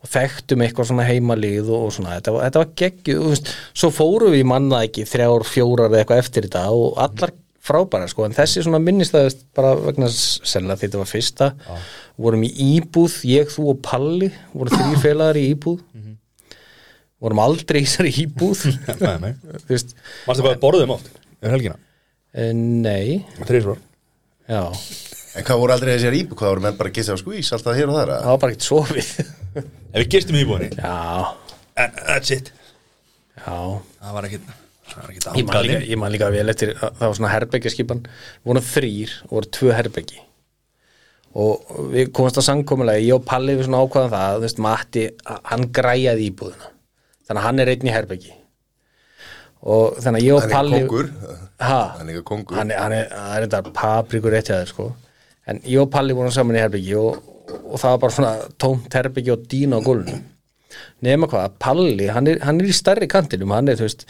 og þekktum eitthvað svona heimalið og, og svona, þetta var, þetta var geggju veist, svo fórum við manna ekki þrjár, fjórar eða eitthvað eftir þetta og allar frábæra sko, en þessi svona minnistæðist bara vegna sennilega því þetta var fyrsta vorum í íbúð, ég, þú og Palli vorum þrý félagar í íbúð Mhm. vorum aldrei í þessari íbúð Nei, nei. þú veist, Manstu hvað við borðum oft? Yfir Um helgina? eh, nei Þrísvar? já, en hvað voru aldrei þessir íbú, hvað voru menn bara að gissa á skvís alltaf hér og þar það að- var bara ekkert sofið Ef við gistum í íbúinni já, En that's it já Það var ekkit Það var ekkit Ég man líka, ákvæðin ég man líka vel eftir að það var svona herbergjaskipan voru þrýr og voru tvö herbergi og við komumst að samkomulega ég og Palli við svona ákvaðan það þú veist, Matti, a- hann græjaði íbúðina þannig að hann er einn í herbergi og þannig að ég og hann er Palli kongur ha, hann er ekki kongur hann, er- hann er, hann er þetta paprikur eitt hjá þér sko en ég og Palli vorum saman í herbyggi og, og það var bara svona tómt herbyggi og dýna á gólfinu nema hvað, Palli, hann er, hann er í stærri kantinum hann er, þú veist,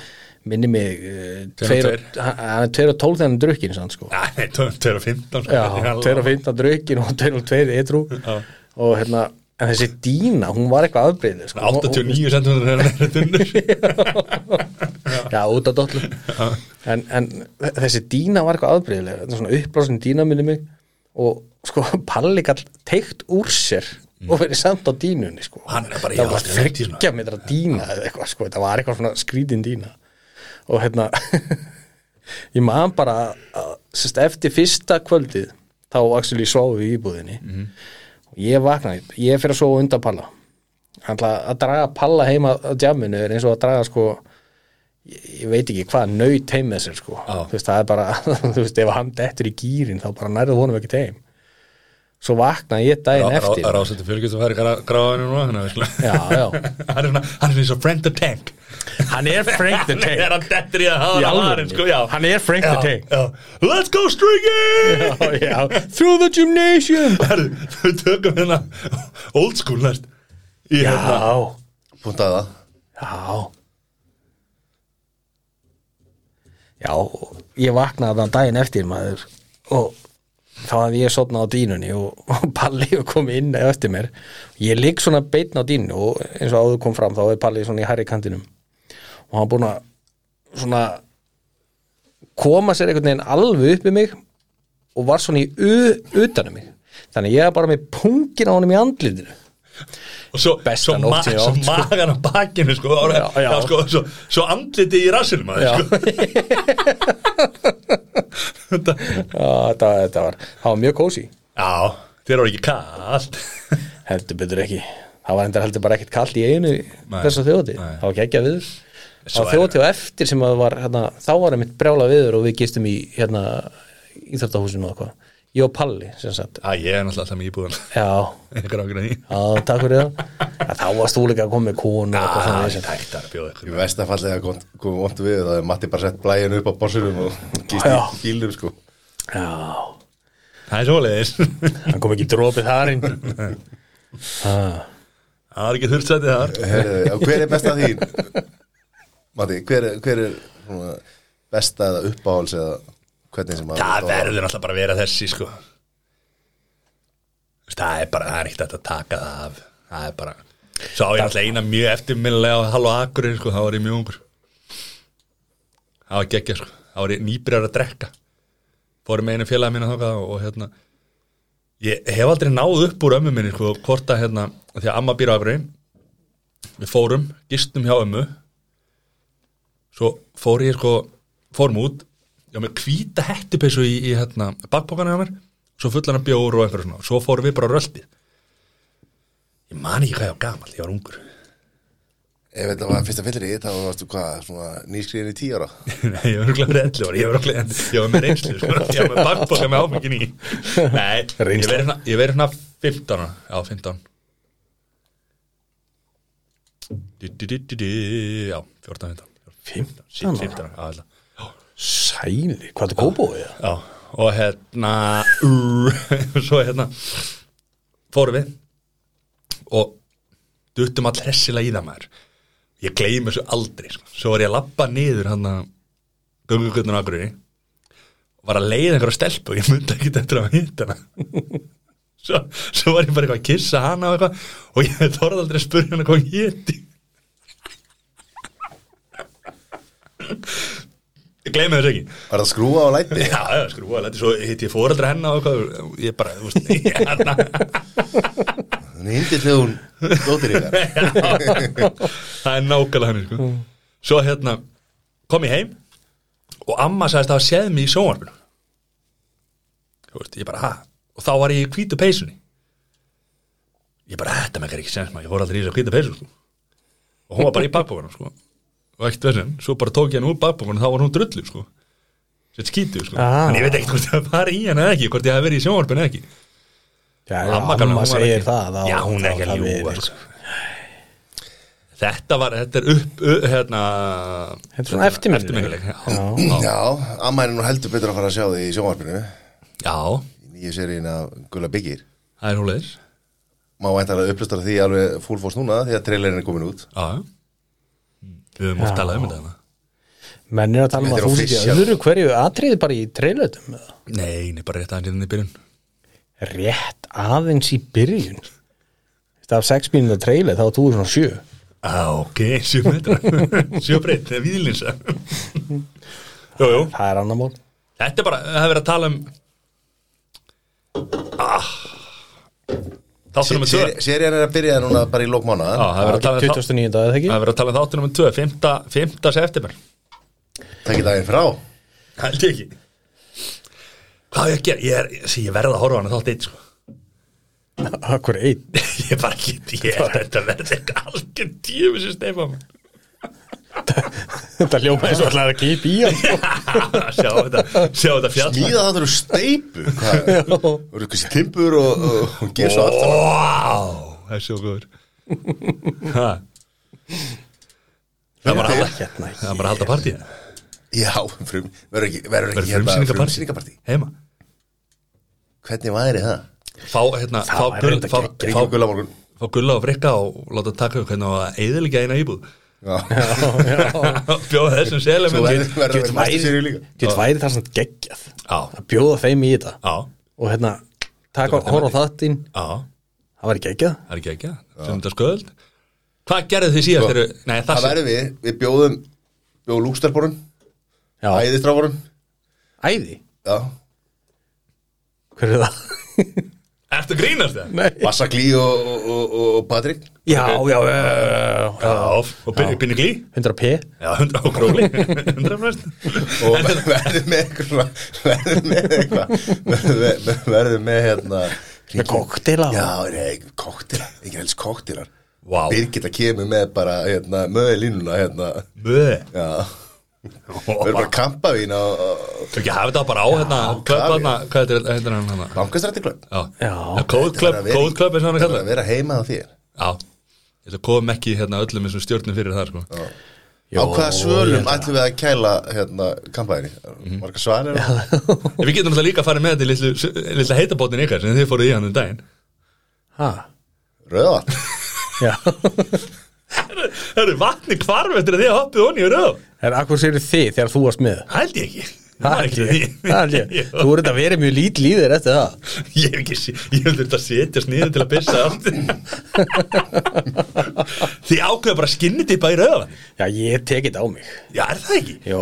minni mig eh, tveir, og- hann hann er 2 og 12 þegar hann drukkin sann sko Nei, 2015 Já, 2 og 15 drukkin og 2 og 2 eitrú og hérna, en þessi dýna hún var eitthvað afbreyðið sko. Hún- hún- 89 centrum er það tunnur Já, út af dollu en, en þessi dýna var eitthvað aðbreyðilega þetta er svona uppblásin dýna minni mig og sko Palli gall teikt úr sér og verið samt á dýnunni sko. Hann er bara í það var ástæðu lengi, svona. þryggja metra dýna eða eitthvað, sko. það var eitthvað svona skrítin dýna og hérna ég man bara Mhm. að, sérst, eftir fyrsta kvöldið þá actually sváum við í íbúðinni ég vaknaði, ég fyrir að sofa undan palla Alla, að draga palla heima á djaminu er eins og að draga sko ég, ég veit ekki hvað nöyt heim með sér sko Já. þú veist, það er bara, þú veist, ef hann dettur í gýrin þá bara nærðu honum ekki heim svo vaknaði ég daginn eftir Ráðsættu fjölgjast að færi gráðinu núna þannig að við skulum- Já, já. Hann er svona- hann er eins og friend the tank hann er Frank the Hann er Tank hann dettur í að hafa Í hann á alvörunni. varin, sko, já. Hann er Frank the Já, Tank. já. Let's go stringy já, já, through the gymnasium Herru, Við tökum hérna old school næst Í hérna já, Puntaði það Já Já, ég vaknaði þann daginn eftir maður og þá hafði ég sofnað á dýnunni og, og Palli og kom inn á eftir mér ég ligg svona beitn á dýnu og eins og áður kom fram þá er Palli svona í hærri kantinum og hann búin að svona koma sér einhvern veginn alveg upp í mig og var svona í u, utanum mig þannig að ég var bara með pungin á honum í andlitinu Og svo, Besta svo, ma nótt sem ég svo átt, sko. magan á bakinu sko, já, Já, já. sko, svo, svo andliti í rassinum aðeins, Já. sko. Þetta- Já, þetta, þetta var, það var mjög kósi sko. Já, þér var ekki kallt heldur betur ekki það var endur heldur bara ekkert kallt í einu Nei, þess að þjóti, nei. það var geggja viður Svo það var er- þjóti og eftir sem að var hérna, þá var einmitt brjála viður og við gistum í hérna, íþjóftahúsinu og eitthvað ég og Palli sem sagt Æ, ég er náttúrulega alltaf með íbúðan já, Ég er ákveðin í já takk fyrir það að þá varst þú líka að koma með konu og eitthvað Það þannig er sem tækt að bjóða ykkur Í versta fallið að komum vont við það er Matti bara sett blæjan upp á borsunum og gist Já. í bílum sko já, Það er svoleiðis Það hann kom ekki dropið þar inn var ekki þurftsætið þar Herðu, og Hver er besta þín? Matti, hver, er- hver er svona, besta eða uppáhals eða hvernig sem að Það verður alltaf bara að vera þessi sko Þú veist, Það er bara, það er ekkert hægt að taka það af Það er bara Svo á ég alltaf eina mjög eftirminnilega á Hall og Akurinn sko, þá var ég mjög ungur Það var geggja sko Þá var ég nýbyrjar að drekka Fórum með einu félagi mín að þóka og, og hérna Ég hef aldrei náð upp úr ömmu minni sko Hvort að hérna, því að amma býr á Akurinn Við fórum, gistum hjá ömmu Svo fór ég sko Fórum út Já, með hvíta hettupeysu í, í hérna, bakpokana hjá mér Svo fullan af bjór og einhverjum svona Svo fórum við bara á röltið Ég man ekki hvað ég var gamall, ég var ungur Ef þetta var fyrsta fyllir í þá varstu hvað, svona nýskriðin í tíu ára Nei, ég var örugglega fyrir 11 ára Ég var örugglega- ég var með reynslu sko. Ég var með bakpoka með áfengin í Nei, ég verið svona, ég verið svona 15 ára. Já, 15 Du, du, du, du, du, Já, 14, 15 15 ára? Já, alltaf sæli, hvað er kóbúið það? Já, og hérna úr, svo hérna fórum við og duttum all hressilega í það maður ég gleymi þessu aldrei sko. svo var ég að labba niður hann að gungugutnum akkurri og var að leiða einhverja stelpu og ég myndi ekki eftir að hitta hana svo, svo var ég bara eitthvað að kissa hana og eitthvað og ég þorði aldrei að spurja hana hvað hún héti ég gleymi þessu ekki Var það skrúa á læti? Já, já, skrúa, læti svo hitt ég fóreldra hennar og eitthvað, ég bara, þú veist, ég hérna, Nýndi til hún dóttir ykkar það er nákvæmlega hann, sko. Svo hérna, kom ég heim og amma sagðist að hafa séð mig í sjónvarpinu. Þú veist, ég bara, ha, og þá var ég í hvítu peysunni. Ég bara, þetta mekkar ekki sens maður, ég fór aldrei í þess að hvítu peysu, sko. Og hún var bara í bakbókanum, sko. Og ekkert verðin, svo bara tók ég hann úr bakbókanum, þá var hún drullu, sko. Sett skítu, sko. Ah. En ég veit ekkert hvort það var í hann eða ekki, hvort ég hafi verið í sjónvarpinu eða ekki. Já, Já, Amma gamla, hún var segir ekki- það þá- Já, hún er þá ekki það að ljúga verið, sko. Þetta var, þetta er upp, upp hérna Þetta er svona eftirminnileg, eftirminnileg. Já, já. Já. amma er nú heldur betur að fara að sjá þig í sjónvarpinu í já, nýju seríin af Gulla Byggir það er húleis Má væntanlega upplustar því alveg fúlfós núna því að trailerin er komin út Já Við höfum oft talað um þetta hana. menn er að tala um Þetta að er þú sýtti official. öðru hverju atriði bara í treinlöðum Nei, nei, bara rétt aðeins hérna í byrjun rétt aðeins í byrjun Þetta af 6 mínúna trailer þá er þú svona 7 Á, ok, sjö metra Sjö breytt, það er víðlinsa Jú, jú, það er annar mál þetta er bara, það er verið að tala um ah. Þáttur nummer tvö Já, Serían er að byrja núna bara í lókmána það er verið að tala um þá- 29. eða ekki Það er verið að tala um þáttur nummer 2, 5. 5. september Takk í daginn frá Held ég ekki Hvað á ég að gera? Ég, er, sí, ég verð að horfa á hana þátt eitt sko. Akkur einn ég bara get, ég er þetta verði eitthvað algjör djöfu sem Stefán Þetta ljóma eins og alltaf að kipa í hann sko. Ah, sjá þetta, sjá þetta fjall Smíða það eru steipu Hvað er eru kannski timbur og, og, og ger svo aftur wow, það er svo góður Ha. það er bara að halda Hérna, það er bara að halda partíð Já, frum, verður ekki, verður ekki hérna verður frumsýningapartí frumsýningapartí heima Hvernig væri það? fá hérna, fá væri gull reyndar fá, Ríkjum fá, og gulla á morgun fá gulla og frikka og láta taka upp hérna og eðilega eina íbúð Já, bjóða þessum selum þú verður verður Get að mæta sér í væri, líka get væri það samt geggjað á, að bjóða þeim í þetta á, og hérna, taka Þetta var horf á þattinn á það var geggjað það er ekki ekki, sem þetta sköld hvað gerðu þið síðast þegar nei, Það Sko, það sem, verður við, við bjóðum Bjóðum lúkstarborun, Já, æðistráborun æði, Já, hver er það? ertu að grínast það? Vassaglí og, og, og, og Patrik Já, já, já, já, já, Já, og binni, binni glí 100p Já, 100 á króli 100 frest og ver- verður með eitthvað verður með eitthvað verður með- verður með hérna Með kokteila já, nei, koktila, ekki helst koktilar Vá. Birgitta kemur með bara hérna, möði línuna hérna, Böð já verður bara Þú kampavín á ekki hafa þetta bara á hérna Klöpp kavíar. hérna, hvað heitir hérna hann hérna bankastrættiklöð Já, Já. Code Club, Code Club er svona að það kalla að vera heima á þér Já, ég ætla að koma ekki hérna öllum eins og stjórnum fyrir það sko á hvaða svölum ætlum við að kæla hérna, kampavíni, Mhm. marga svanir já, En Við getum alltaf líka að fara með þetta í litlu- litla heitabótin ykkar sem þið fóruð í hann um daginn Ha, rauða já Það eru vatni kvarf eftir að þið hoppið honni í röð En akkur séu þið þegar þú varst með Hældi ég ekki Ég Það er man ekki, eftir það er ekki Jú. Þú voru þetta verið mjög lítil í þér eftir það Ég hef ekki, sé- ég hef þurft að setjast niður til að pissa allt Þið ákveða bara skinnitipa í rauðan Já, ég tekið þetta á mig Já, er það ekki? Jó,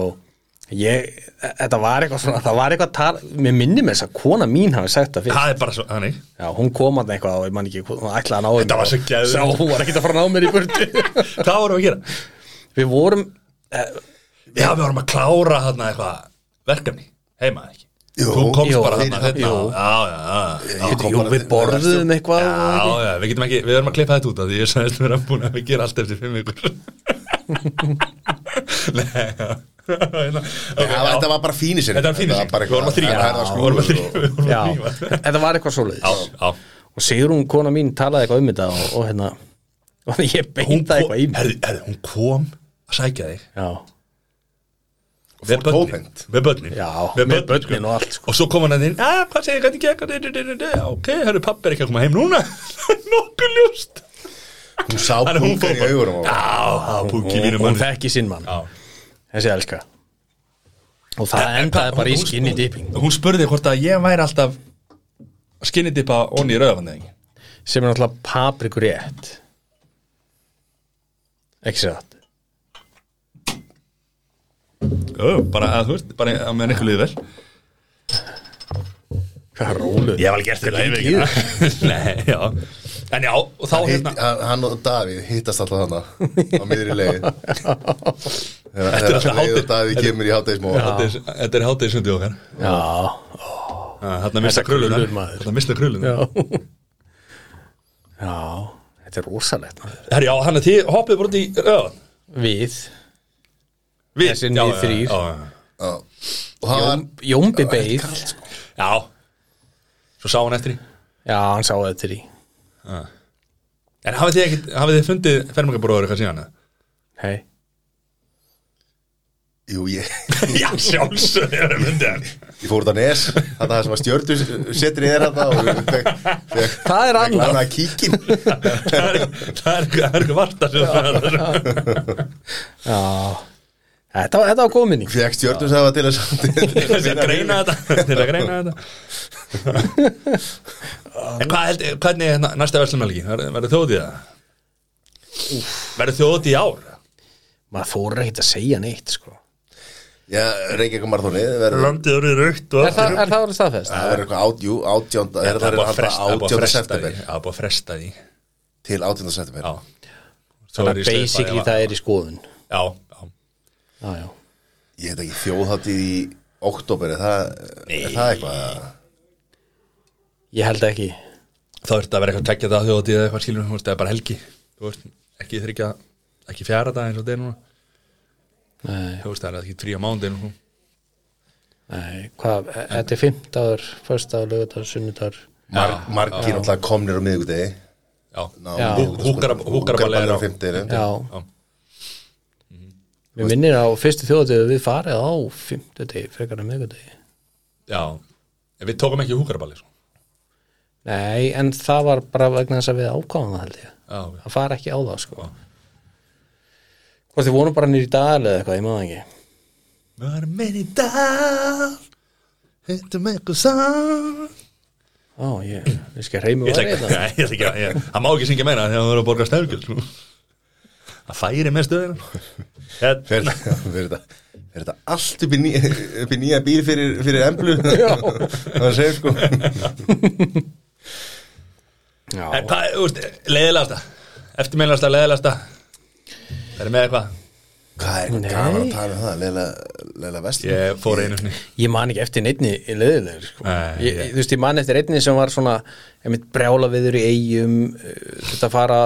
ég, e, þetta var eitthvað svona, það var eitthvað tal, mér minni með þess að kona mín hafi sagt það fyrir Það er bara svo, þannig Já, hún kom að eitthvað og ég man ekki, hvað- hún ætlaði að ná Þetta var svo geðveikt. Sá, hún var ekkert að fara að ná mér í burtu Hvað vorum við að gera? Við vorum, Já, við vorum að klára þarna eitthvað verkefni heima ekki Jú, Þú komst jú, bara þarna fyrir- hérna jú. Já, já, já, já kom jú, bara við til- borðum eitthvað Já, já, við getum ekki, við erum að klippa þetta út af því ég sagðist að vera búin að við gera allt eftir fimm vikur Nei, já Hérna, ok, Já, já. þetta var bara fínisinn Þetta var fínu Þetta var sig, bara við vorum að eitthvað- þrýfa að herða Við vorum að snúrur og- þrýfa, við vorum Já, að þrýfa þetta var eitthvað Já, svoleiðis já Og Sigrún, kona mín, talaði eitthvað um þetta og, og hérna, og ég beinta kom, eitthvað í mig herri, herri, hún kom að sækja þig Já, Við börnin, tómhent. við börnin Já, við með börnin, börnin og allt, sko. Og svo kom hann að þín, að hvað segir, hvernig gekk Du, du, du, du, du. Ok, herru, pappi er ekki að koma heim núna Nokkuð ljúst Hún sá Þannig að hún punkan í fór bara- augunum á honum. Já, púki hún, mínu hún mann þekki sinn mann, Já. þessi elska Og það endaði bara í Hún- hún- skinny dipping Hún spurði hvort að ég væri alltaf skinni dippa onni í rauðafann eða ekki sem er náttúrulega paprikur rétt ekki sér það Ó, Bara að þú veist, bara að meðan ykkur liði vel hvað rólu Ég hef alveg gert þetta í lífi Nei, já En já, og þá Hitt- hérna hann- Hann og Davíð hittast alltaf þannig á miðri leiðin Þetta er Þegar alltaf Leið hátíð. og Davíð kemur í hátægismó Hádegis- Þetta er hátegisundið okkar já, Þarna mista krullunar krullur, maður. Þarna mista krullunar já já, þetta er rosalegt maður. Herri, já, hann er því hoppið bara út í rauðan við, Við, Þessi já, niður já, þrír. já, já, Og hann var Jómbi beið já, já. Já, svo sá hann eftir því hann sá þetta til í En hafið þið, ekkit, hafið þið fundið fermingabróður eitthvað síðan? eða? hei, Jú, ég, Já, sjálfsög er að fundið hann ég fór út á nes Þetta er það sem að stjördu setur í þér þetta og fekk- fekk- Það er fekk annað. lánað kíkin Það er það er eitthvað það er eitthvað vart að sjálfsög já þetta, var- þetta var góð minning Fekk stjördu sem var til að samt Til að greina þetta Til að greina þetta En hvað held, hvernig er hérna næsta verslumælgi? Verður þjóðið það? Verður þjóðið í ár? maður þóra ekkert að segja neitt sko. Já, Reykjavík marathóni Það verður Landið eru raukt er, það, er það voru staðfest? það verður eitthvað átjú, átjónda Það er verður búið að alltaf fresta- það er búið að átjónda september fresta því Það er búið að fresta því Til átjónda september Já Svo er ég Þannig að slegið basically bara- það er í skoðun Já, já já, já Ég heit ekki þjóðháttið í oktober Er það, er það eitthvað? Ég held ekki þá er þetta að vera eitthvað tekja það þjóðatíð eða eitthvað skilur, þú veist, það er bara helgi þú veist, ekki þryggja, ekki fjara dag eins og þetta er núna Nei, þú veist, það er ekki frí á mándin og, nei, hvað, e- þetta er fimmtaður, föstaður, lögutaður, sunnudagur Mar, margir alltaf komnir á miðvikudegi já, Ná, Já. miðvikudags- Húkara- húkaraballið er á. á fimmtudegi Já, já, mér minnir á fyrstu þjóðatíðu við farið á fimmtudegi, frekar að miðgudegi já en við tókum ekki húkaraballi sko. Nei, en það var bara vegna þess að við ákváðum það held ég já, ok. Það fara ekki á það sko Hvort þið vonum bara nýr í dal eða eitthvað, ég maður ekki Var menn í dag Hittum eitthvað sann Ó, ég, ég skal reymi Ég ætla var ekki- eitthvað Nei, ég ætla ekki að ég- Það má ekki syngja meina þegar þú eru að borga stærgjöld Það færi með stöðina Hérna. Hér- Fer fer þetta fer þetta allt upp í, ný, upp í nýja bíl fyrir, fyrir emblu það var að segja sko En hvað, þú veist, leiðilegasta Eftirmeilegasta, leiðilegasta Það er með eitthvað hvað er Nei. gaman að tala um það leila vest Ég fór einu sinni Ég man ekki eftir neittni í leðilegur sko. Nei, ég, ég- Þú veist, ég man eftir einni sem var svona einmitt brjála viður í eigum þetta fara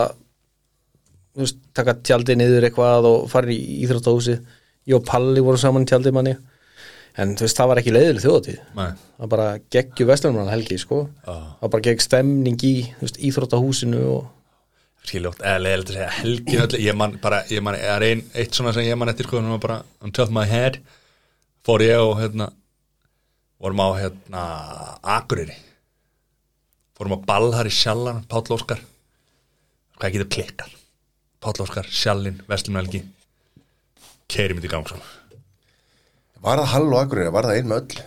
þú veist, taka tjaldi niður eitthvað og fara í íþróttahúsi Ég og Palli voru saman í tjaldi manni en þú veist, það var ekki leiðileg þjóðatíð Nei. það bara geggju vestlunum helgi sko. Ah. það bara gegg stemning í þú veist, íþróttahúsinu og Skiljótt, eða leiðilegt að segja helgin öll Ég man bara, ég man, það er ein, eitt svona sem ég man eftir sko, hún var bara, on top of my head Fór ég og hérna Vorum á hérna Akureyri Fórum á ball þar í sjallan, Páll Óskar Hvað getur klikkar Páll Óskar, sjallin, Vestlum Helgi Keiri mitt í gang svona var það hall og akkurir, var það ein með öll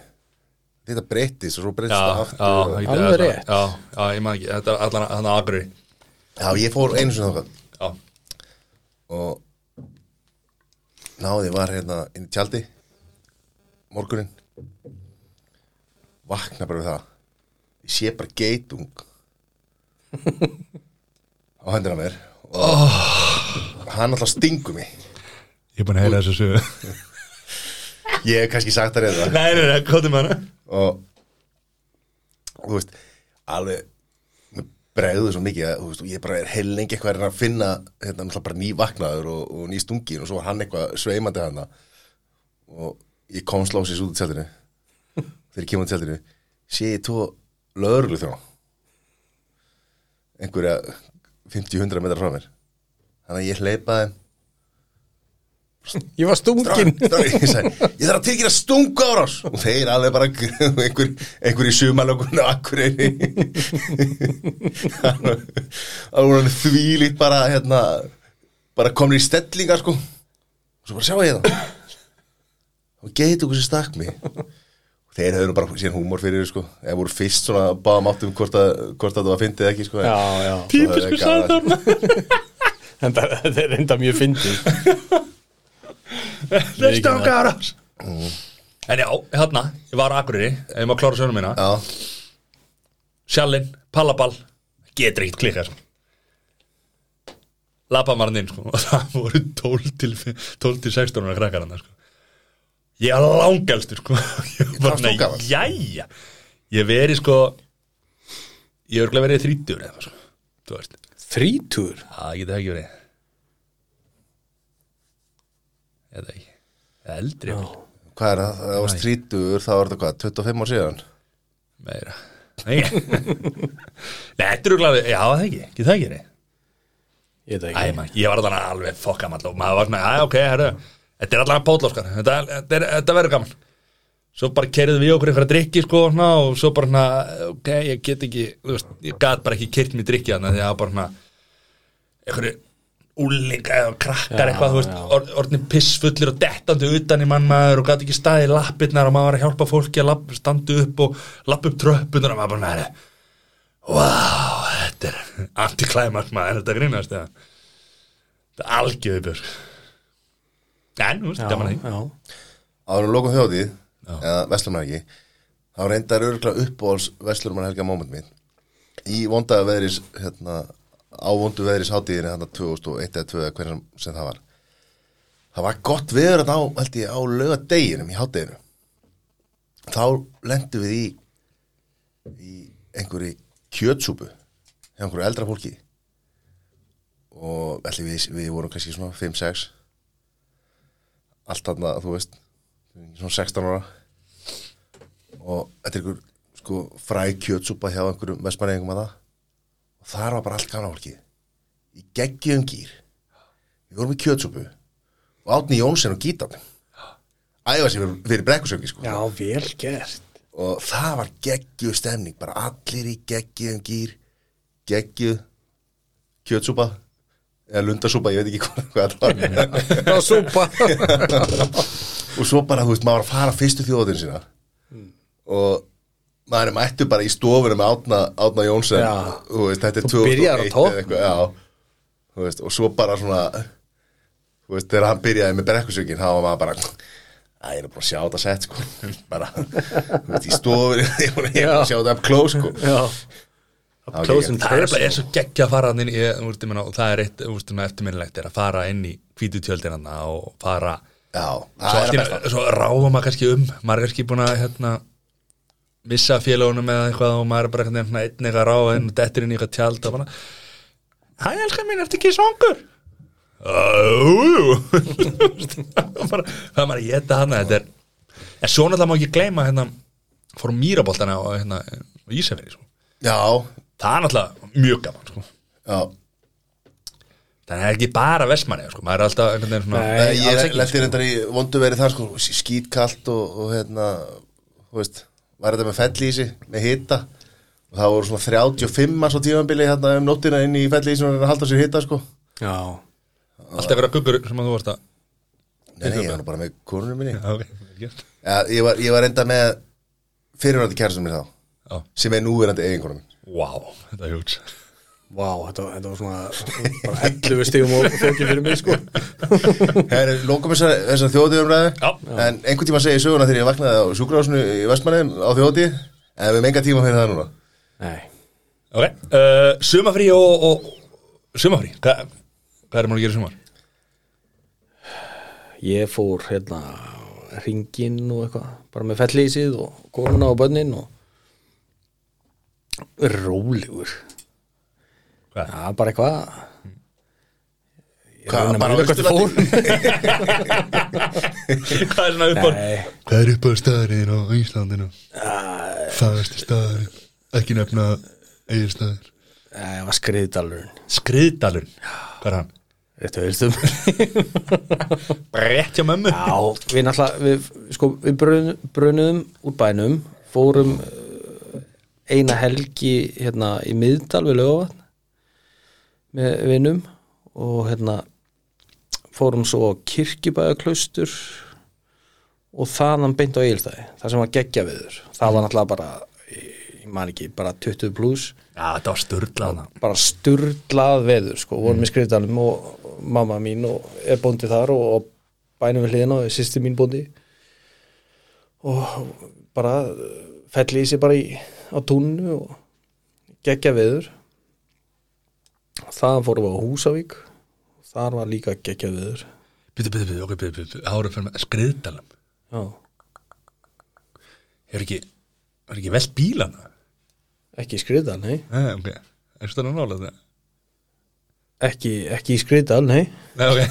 þetta breytist og svo breytist það Já, aftur já, og- ég- Alveg þetta- rétt. Já, já, ég man ekki, þetta er allan hann á Akureyri já, ég fór einu sinni þókað Já, og náði var hérna inn í tjaldi morgunin vakna bara við það ég sé bara geitung á hendina á mér og hann alltaf stingur mig ég er búin að heyra þessu sögu ég hef kannski sagt það reyða Nei, nei, nei, kóttum hana og þú veist alveg mér bregður svo mikið að þú veist, og ég bara er heil lengi eitthvað að reyna að finna hérna náttúrulega bara ný vaknaður og, og ný stungin og svo var hann eitthvað sveimandi hana og ég kom slósis út í tjaldinu þegar ég kemur út í tjaldinu sé ég tvo löðurlu þjó einhverja 50-100 metrar frá mér þannig að ég hleypaði ég var stungin Dra- dra- ég sagði, ég þarf að tilkynna stungu árás og þeir alveg bara einhver, einhver í sumalökunni á Akureyri alveg hann þvílít bara hérna, bara komin í stellingar sko og svo bara sjá ég það og geit okkur sem stakk mig og þeir höfðu nú bara síðan húmor fyrir þér, sko eða voru fyrst svona báðum áttum hvort að, hvort að það var fyndið eða ekki sko já, já. típisku sæðarna En það, það er enda mjög fyndið Það er stanga árás En já, hérna, ég var á Akureyri Ef ég má klára söguna mína já, Sjallinn, pallaball, getur ekkert klikkað sko. Labba maður þarna inn sko. Og það voru 12 til, 12 til 16 ára krakkar hann sko. Ég er langalstur sko. Ég var Varst þú bara, gamall? jæja Ég hef verið sko Ég hef örugglega verið þrítur eða eitthvað, sko. Þú veist þrítúr Það getur það ekki verið Eða ekki Eða eldri jafnvel. hvað er það, það var strítur það var þetta hvað, 25 ár síðan Meira Nei, Nei, þetta eru glæði Já, það ekki, getur það ekki verið ég veit það Æ, ekki maður, ég var allan alveg fokkamall og maður var svona, æ, ok, herru Þetta er allan pótlóskar, þetta, þetta, er- þetta verður gaman Svo bara kerðum við okkur einhverja drikki, sko, svona, og svo bara, svona, ok, ég get ekki, þú veist, ég gat bara ekki kert mér drikki þarna, því að bara, svona, einhverju úlinga eða krakkar eitthvað, þú veist, or, orðin pissfullir og dettandi utan í mann maður og gat ekki staði í lappirnar og maður var að hjálpa fólki að lapp, standa upp og lappa upp tröppunar og maður bara, næri, wow, þetta er antiklæmast maður, er þetta að grínast, eða? Það er algjöðu björg En, þú veist, gaman að því já, áður en lokum þjóðið eða Vestlumannarki þá reyndar örgulega uppbóls Vestlumannarhelga moment minn í vonda veðris hérna, á vondu veðris hátíðinni hann 2001 eða 2002 eða hvernig sem það var það var gott veður að á held ég á lögadeginum í hátíðinu þá lendum við í í einhverju kjötsúpu hjá einhverju eldra fólki og ætli við, við vorum kannski svona 5-6 allt þarna, þú veist svona 16 ára og þetta er einhver sko, fræ kjötsúpa hjá einhverjum vestmanneigum að það og þar var bara allt gamla fólki í geggjum gýr við vorum í kjötsúpu og átni Jónsson og gítan æfa sér fyrir- fyrir brekkusöngi sko. Já, vel gert og það var geggju stemning bara allir í geggjum gýr geggju kjötsúpa eða lundasúpa, ég veit ekki hvað, hvað það var Já, súpa og svo bara, þú veist, maður var að fara fyrstu þjóðin sína Mm. og maður er mættu bara í stofunum með Átna, Átna Jónsson Já. þú veist, þetta er Þú byrjar á 2001 topp. eða eitthvað, já, þú veist, og svo bara svona þú veist, þegar hann byrjaði með brekkusökin þá var maður bara að ég er bara að sjá þetta sett sko bara, þú veist, í stofunum ég er búin að- ég er bara að sjá þetta up close sko Já, Það var close geggjað. and Það er bara personal. er svo geggja að fara þarna inn í, eh, þú veist, ég meina, og það er eitt þú veist, svona eftirminnilegt er að fara inn í hvítu tjöldinanna og fara já, um svo, það er allt að í besta einu- svo ráfa maður kannski um maður er kannski búin að hérna, missa félagunum eða eitthvað og maður er bara hérna, einn eitthvað að ráfa inn og dettir inn í eitthvað tjald og bara Hæ, elskan mín, ertu ekki svangur? Ájú Það er maður að geta hana Þetta er En svo náttúrulega má ekki gleyma hérna fórum mýraboltana á hérna, Ísafirði sko. já, Það er náttúrulega mjög gaman sko. já, Það er ekki bara vestmanni sko. maður er alltaf einhvern veginn svona Eh, Nei, sko. alls ég ekki, lendi reyndar í vondu verið þar sko, skítkallt og, og hérna, þú veist, var þetta með fellísi, með hita og það voru svona 35 manns á tímanbili hérna um nóttina inn í fellísi og reyna að halda sér hita sko. Já, alltaf vera guggur sem að þú varst að Nei, nei, ég var nú bara með konunum minni. Já, okay. vel gert. Ja, ég, var, ég var reynda með fyrirvændi kærastum mér þá, Já. sem er núverandi eiginkonum minn. Vá, þetta er hjúts vá, þetta, var- þetta var svona bara 11 stíðum og fókið fyrir mig sko Herri, lókum þessar, þessar Já. þjóðatíðumræðu, en einhvern tíma segi söguna þegar ég vaknaði á sjúkrahásinu í Vestmanneim á þjóðatíð, en við menga tíma fyrir það núna. Nei, okay. uh, Sumafrí og, og Sumafrí, Hva, hvað er maður að gera í sumar? ég fór hérna ringin og eitthvað, bara með fellísið og konuna og bönnin og rólegur Hvað? Já, bara eitthvað Ég Hvað, reyna að bara á muna hvert við Austurlandi? fórum. hvað er svona uppbór? Nei, Hvað er upp á staðurinn á Íslandinu? Fagasti staðurinn Ekki nefna eigin staður það var skriðdalurinn Skriðdalun, hvað er hann? Þetta veistum Brett hjá mömmu Já, við náttúrulega, við, sko, við brun, brunum úr bænum, fórum eh, eina helgi hérna í miðdal við lögavatn með vinum og hérna fórum svo á kirkjubæðaklaustur og þaðan beint á Egilstæði, það sem var geggja viður það var náttúrulega bara eh, ég- ég man ekki, bara 20 pluss Já, þetta var sturglað bara sturlað veður sko, vorum í skriðdalum og mamma mín og er bóndi þar og, og bænum við hliðina og sýsti mín bóndi og bara eh, felli í sig bara í, á túnnu og geggja veður þaðan fórum við á Húsavík þar var líka geggja veður Býtu, býtu, býtu, ok, býtu, býtu Hárum fyrir með skriðdalum já, Hefur ekki, hefur ekki velt bílana? ekki í skriðdal, nei Nei, ok, er svona nála það? ekki, ekki í skriðdal, nei Nei, ok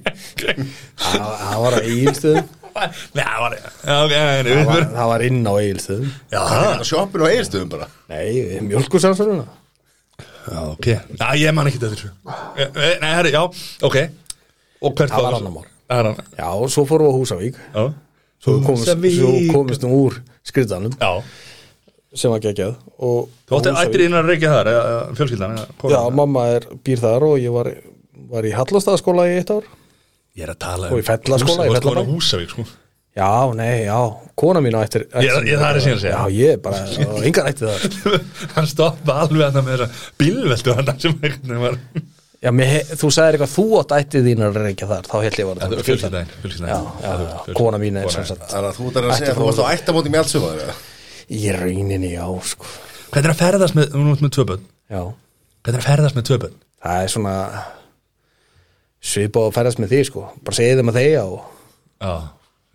það það var á Egilstöðum Nei, það var Já, ok, nei, það við var, fyrir það var inn á Egilstöðum Já, Þetta sjoppin á eiginstöðum bara. nei, mjölkusamsvöruna Já, ok. Já, ég man ekki þetta þessu. Eh, eh, Nei, herri, já, ok. Og hvert Það var fór- annar mál. Það var annar. Já, og svo fórum við á Húsavík Já. Svo Mm, komist, Húsavík. svo komist nú úr skriðdanum Já. sem var geggjað og Þú átti ættir innan að reykja þar, eða fjölskyldan, eða Já, kóran. mamma er, býr þar og ég var, var í Hallastaðaskóla í eitt ár Ég er að tala um Og í fellaskóla, Húsavík. í Þú varst komin á fellabæ. Húsavík, sko. Já, nei, já, kona mín á ættir Ég- ég- það er síðan að segja. Já, ég er bara, og engan ætti það Hann stoppa alveg hann með þessa bílveldu hann sem eitthvað var. Já, mér, he- þú sagðir eitthvað, þú átt ætti þínar að reykja þar, þá held ég var Þetta var skriðdan. fjölskyldan, fjölskyldan. Já, já, já, kona mín er sem sagt Þannig að þú þarf að segja að þú varst á ættamóti með allt sumar eða? Í rauninni, já, sko Hvernig er að ferðast með, nú erum við með tvö bönn. Já, Hvernig er að ferðast með tvö bönn? það er svona svipað að færast með því, sko Bara segið þeim að þeia og Já.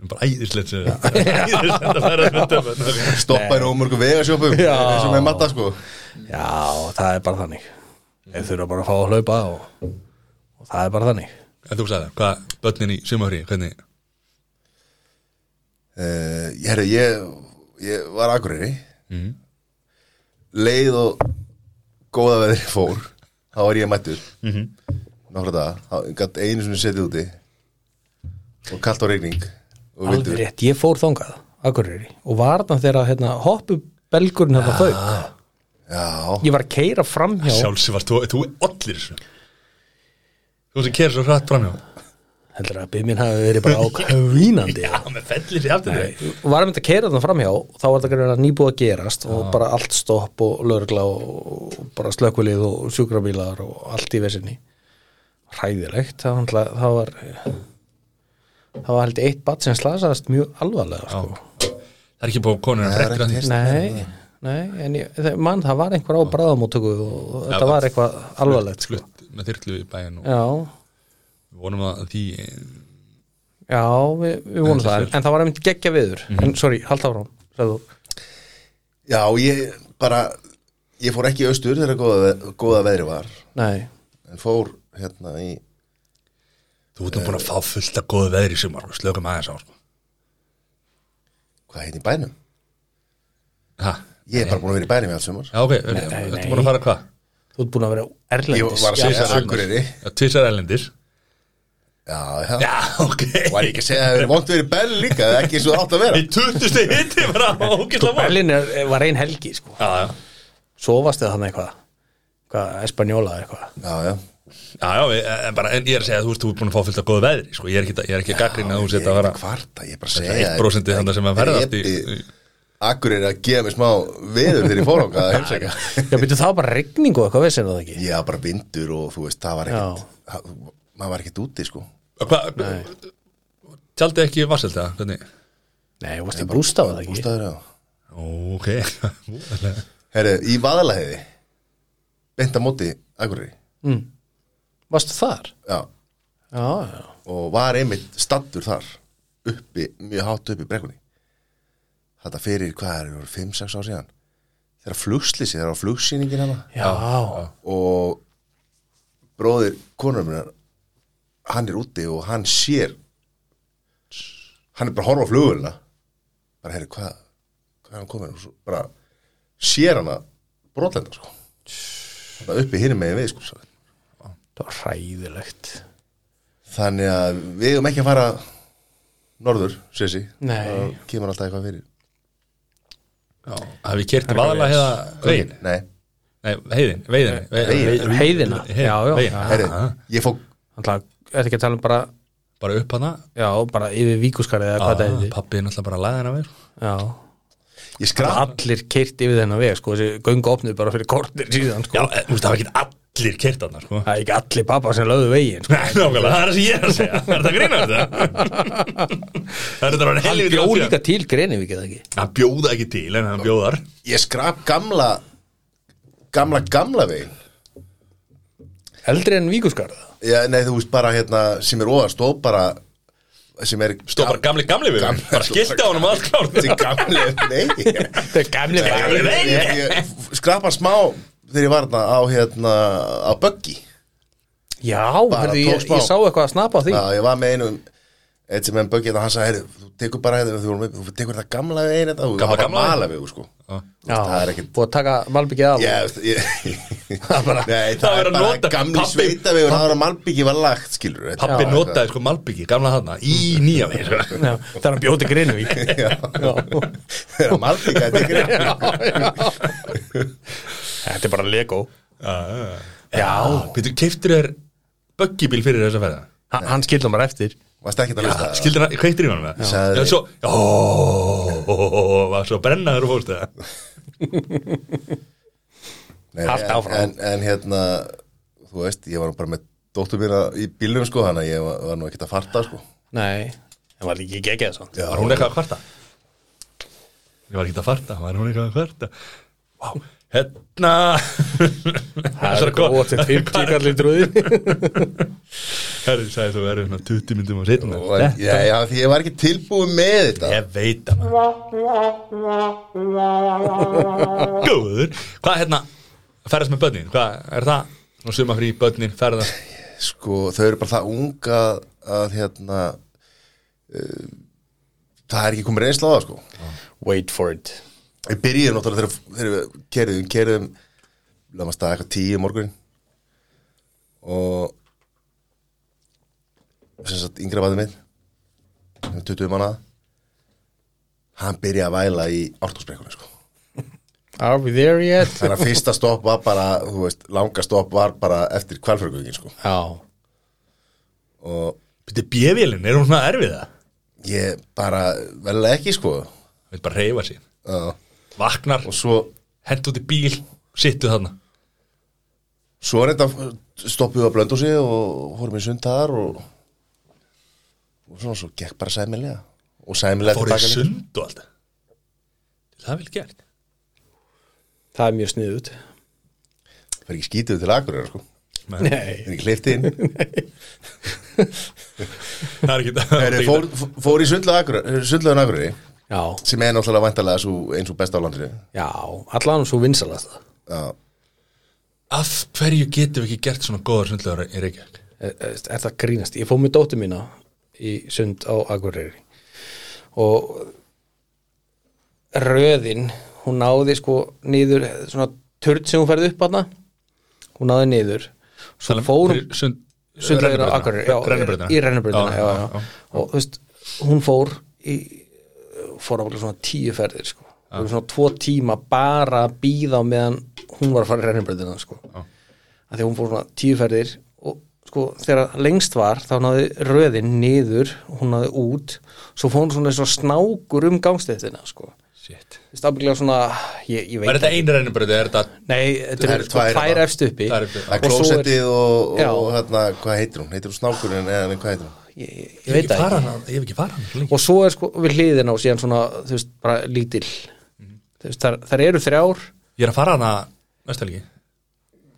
bara æðislegt sem það æðislegt að fara að mynda Stoppa í ómörgum vegasjópum Já. eins og með matta sko Já, það er bara þannig Þeir þurfa bara að fá að hlaupa og, og það er bara þannig En þú sagði, hvað, börnin í sumafrí, hvernig uh, herri, ég, ég var akureyri leið og góða veðri fór þá var ég mættur mm -hmm. nokkra daga, þá gætt einu sinni setið úti og kallt á regning og Alveg rétt, ég fór þangað Akureyri og var þarna þegar hérna, hoppu belgurinn hérna þau já, Ég var að keira framhjá Sjálfsi var, þú, þú allir þessu Þú sem kerir svo hratt framjá heldur að bimmin hafi verið bara ákvínandi Já, með fellir sér aftur eh? þig og var einmitt að keira þarna framhjá og þá var þetta greina nýbúið að gerast og bara allt stopp og lörgla og og bara slökkulið og sjúkrabílar og allt í vesinni hræðilegt, það var, náttúrulega- það var það var held ég eitt bat sem slasaðast mjög alvarlega sko. Það er ekki búið konur að frektir að því nei, nei, en ég, það- mann það var einhver á bráðamóttöku og þetta það- var eitthvað alvarlegt sko. Flutt með þyrlu í bæin og já, við vonum að því eh, já, við, við vonum það en, en það var einmitt geggja viður en sorry, halda áfram sagði þú. já, ég bara ég fór ekki í austur þegar góða, ve- góða veðri var nei, en fór hérna í Þú ert nú búin að fá fullt að góðu veðri í sumar og slökum aðeins á sko. hvað heitir bænum? Ha, Ég er bara búin að vera í bænum í allt sumar Já, ok, er- ertu búin að fara hvað? þú ert búin að vera Ég erlendis var að segja Tvisvar akureyri Já, Tvisar ellendir Já, já, Já, ok Var ég ekki að segja að það er vont verið bæl líka Það er ekki svo átt að vera Í 20. hitti bara ógislega vond Berlín er, var ein helgi sko. Já, já, sofast eða þannig eitthvað eitthvað espanjóla eitthvað Já, já já, já við- en, bara, en ég er að segja að þú veist, þú ert búin að fá fullt að góðu veðri sko. ég, er ekki, ég er ekki að gaggrina að þú Ég setja að er vera ekki kvarta, ég er bara að Þetta segja 1% þarna sem að ferðast í- Akkur er að gefa mér smá veður þegar ég fór ákvað að heimsækja já byrju það var bara rigning og eitthvað vissir það ekki Ég var bara vindur og þú veist, það var Já. ekkert það- Maður var ekkert úti, sko Eh, Hva, Tjaldi ekki vasselda, hvernig? nei, þú varst í bústaf eða ekki Bústaður, já Ó, Ok, Herru, í vaðalahiði Beint á móti, akkur varstu þar Já, já, já. og var einmitt stattur þar uppi, mjög hátt uppi í brekkunni þetta fyrir, hvað er, voru 5-6 ár síðan þegar flugslýsi, þegar var flugsýningin hana Já. og bróðir konur minnar hann er úti og hann sér hann er bara að horfa á flugulina bara, heyrðu, hvað hvað er hann komin og svo bara sér hana brotlenda sko þetta uppi hinum megin við sko sagði. það var hræðilegt Þannig að við eigum ekki að fara norður, Sessi Nei. Það kemur alltaf eitthvað fyrir Hafið kert vaðalega heiða veginn? Nei, Nei, heiðin, veiðin Veiðin. heiðina, Hei- já, já, veginn. já. herri, ég fó Alltaf, ertu ekki að tala um bara Bara upp hana já, bara yfir víkuskarið eða hvað það heitir Pappiði náttúrulega bara að laga hana við já Ég Það var skraf allir kyrt yfir þennan veg sko, þessi göngu opnuð bara fyrir kortir síðan Já, sko. en, þú veist, það var ekki allir kert hana sko. það er ekki allir pappa sem lögðu veginn sko. Nei, nákvæmlega, það er það sem ég er að segja Það er það að grína þetta Það er þetta bara hann helviti bjó langt líka síðan. til Grenivík eða ekki Hann bjóða ekki til, en hann bjóðar Ég skraf gamla Gamla, gamla veginn eldri en víkuskarið Já, nei, þú veist bara hérna sem er ofar stóð bara sem er Stóð bara gamli, gamli við Gamli- Bara skilti á hann um allt klárt sem gamli Nei ég, þetta er gamli Gamli veginn ég, ég skrapa smá þegar ég var þarna á hérna á Böggi Já, Bara hörðu, ég, tók smá. ég sá eitthvað að snappa á því Já, ég var með einum eitt sem enn Böggi hérna, hann sagði, heyrðu, þú tekur bara hérna, þú, vorum með- þú tekur þetta gamla veginn þetta, þú- það var Gamla, bara gamla veginn. mala vegu, sko Já, það er ekkit- Búið að taka malbyggið af Já, veist, ég, bara, Nei, það, það er verður að bara nota- gamli pabbi- sveitavegur það var að malbyggi var lagt, skilur við. Pappi Já, notaði sko malbyggi, gamla hana Í nýja við sko. Já, Það er að bjóti Grinivík Já. Það er að malbyggi þetta er greið. Þetta er bara Lego Já Pétur, keiftur þér böggibíl fyrir þessa ferða ha, Hann skildur maður eftir Varst ekki að hlusta Skildir hann, kveiktir í hann með Sagði- Já, svo, ó, var svo brennaður og fórst það Nei, Allt en- áfram. en, en hérna, þú veist, ég var nú bara með dóttur mína í bílum sko, þannig að ég var, var nú ekkert að farta sko. Nei, það var ekki geggjað svo Var hún eitthvað að kvarta? Ég var ekki að farta, var hún eitthvað að kvarta? Vá, Vá, hérna Það er gott eitt 50 kallið drúði Herri, sagði þú verður hérna 20 myndum á setna Og var- Já, já, því ég var ekki tilbúið með þetta Ég veit að maður Góður Hvað hérna, ferðast með börnin Hvað er það? Nú suma frí börnin, ferðast Sko, þau eru bara það unga að hérna uh, það er ekki komið reynsla á það, sko Wait for it Við byrjuðum náttúrulega þegar- þegar við kerðum, kerðum lefum að staða eitthvað tíu morgun og sem sagt yngra vaðið minn hann er 20 manna hann byrjaði að væla í ártúsbrekkunni sko. Are we there yet? þannig að fyrsta stopp var bara þú veist, langa stopp var bara eftir kvalfjörgöngin sko. Já og Býttu bjöfélin, er hún svona erfiða? ég bara velja ekki sko Við bara reyfa sér uh, Vaknar, og svo hent út í bíl, sittu þarna Svo er þetta stoppið við að blöndu sig og fórum í sund þar og, og svona svo gekk bara sæmilega og sæmilega Fór í líka. sund og allt Það er vel gert Það er mjög sniðut Það er ekki skítið til akureyra sko Nei, Það er ekki hleyft inn það er ekki Það það er fór, fór í sundlaðun akureyri Já, sem er náttúrulega væntalega svo, eins og besta á landinu já, allan svo vinsalast Já, Af hverju getum við ekki gert svona góðar sundlegar í Reykjavík? er, er Eh, er það grínast ég fór með dóttu mína í sund á Akureyri og röðin hún náði sko niður svona turd sem hún ferði upp hana hún náði niður svo fór hún Sund, sundlaugina á Akureyri já, Rennibrautina í rennubröðina já, já, og þú veist, hún fór í, fór á svona tíu ferðir sko. ja. svona tvo tíma bara að býða meðan hún var að fara í rennubröðina sko. ja. að því að hún fór svona tíu ferðir og sko, þegar lengst var þá náði röðin niður hún náði út, svo fór hún svona eins og snákur um gangstættina sko. Shit Þú veist, ábyggilega svona, ég, ég veit Er þetta einu rennibröð eða er þetta Nei, þetta Það eru eru sko tvær tvær þarna. efst uppi Tvær efst uppi. það er Og svo klósettið og, Já. og hérna, hvað heitir hún? Heitir hún snákurinn eða nei, hvað heitir hún? Ég, ég, Ég ég veit hef ekki það ekki farað hana, ég hef ekki farað hana svo lengi. og svo er sko við hliðina og síðan svona þú veist, bara lítill þú veist, þar, þar eru þrjár Ég er að fara hana næstu helgi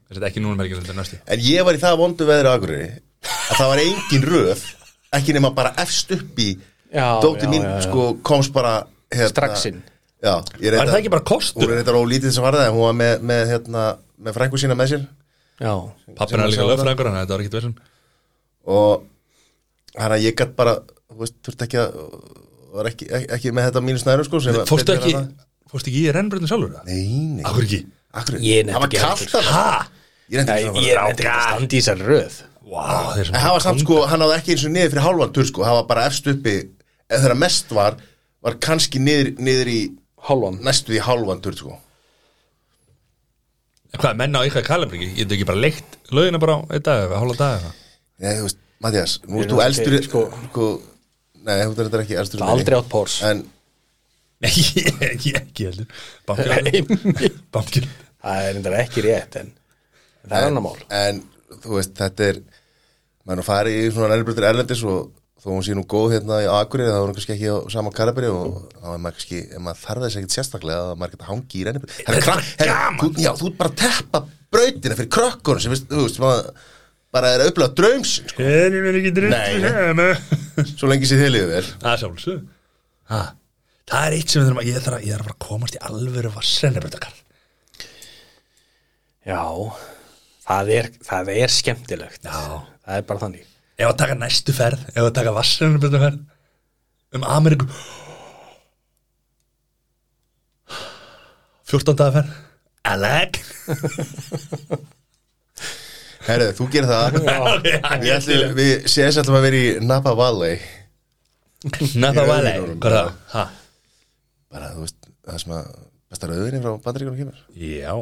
Er þetta ekki núna merkið sem þetta er næstu En ég var í það vondu veðri á akureyri að það var engin röð ekki nema bara efst upp í Já, dóttir já, mín já, já. sko komst bara hérna, Strax inn. Já, ég Er það ekki bara Hún kostur? er eitthvað ólítið sem var það en hún var með, með, hérna, með frængu sína með sér já, Pappin sem er líka að sjá lögfræðingur hann, þetta var ekki verið og hann að ég gætt bara þú veist, þurft ekki að var ekki, ekki, ekki með þetta mínu snæru sko sem að- Fórstu betur ekki, er það. fórstu ekki í rennibröðin sjálfur það? Nei, nei Akkur ekki Akkur, Ég nefndi það var ekki kallt þarna. Ha? Ég nefndi ekki ég er eitthvað að standa í þessar röð Vá, þeir En sem hann var samt sko, hann náði ekki eins og niður fyrir hálfan tur sko, hann var bara efst uppi eða þegar mest var, var kannski niður, niður í hálfan, næstu í hálfan tur sko Hvað, menna á eitthvað kalabríki? Ég hef ekki bara leikt lögina bara á einn dag eða hálfa dag eða Nei, þú veist, Mattias, nú Ég ert er þú nú elstur ekki, sko, sko. sko, Nei, þú ert ekki elstur Það er aldrei átt pórs. En Nei, ég ekki, ekki heldur Bankir Bankir það er reyndar ekki rétt en það er annar mál En þú veist, þetta er maður nú farið í svona nærbröður erlendis og þó hún sé nú góð hérna í Akureyri þá er hún kannski ekki á sama karabri og þá er maður kannski, ef maður þarf þess ekkit sérstaklega að maður geta hangi í rennibröð Þetta er gaman þú, Já, þú ert bara að teppa brautina fyrir krökkunum sem, veist, þú veist, maður bara er að upplega draums sko, Er ég verið ekki drutt? Nei svo lengi sér þið liðið vel Það er sjálfsög ha. Það er eitt sem við þurfum að ég þarf að, ég þarf að fara að komast í alvöru vassrennabröndakar já, það er, það er skemmtilegt Já. það er bara þannig Ef að taka næstu ferð, ef að taka vassrennabröndaferð um Ameríku 14. daga ferð Alec Herðu, þú gerir það Við, ætlum, við séðs alltaf að vera í Napa Valley Napa Valley Ég- Hvað er það? Ha? bara, þú veist, það sem að besta rauðinni frá bandaríkunum kemur Já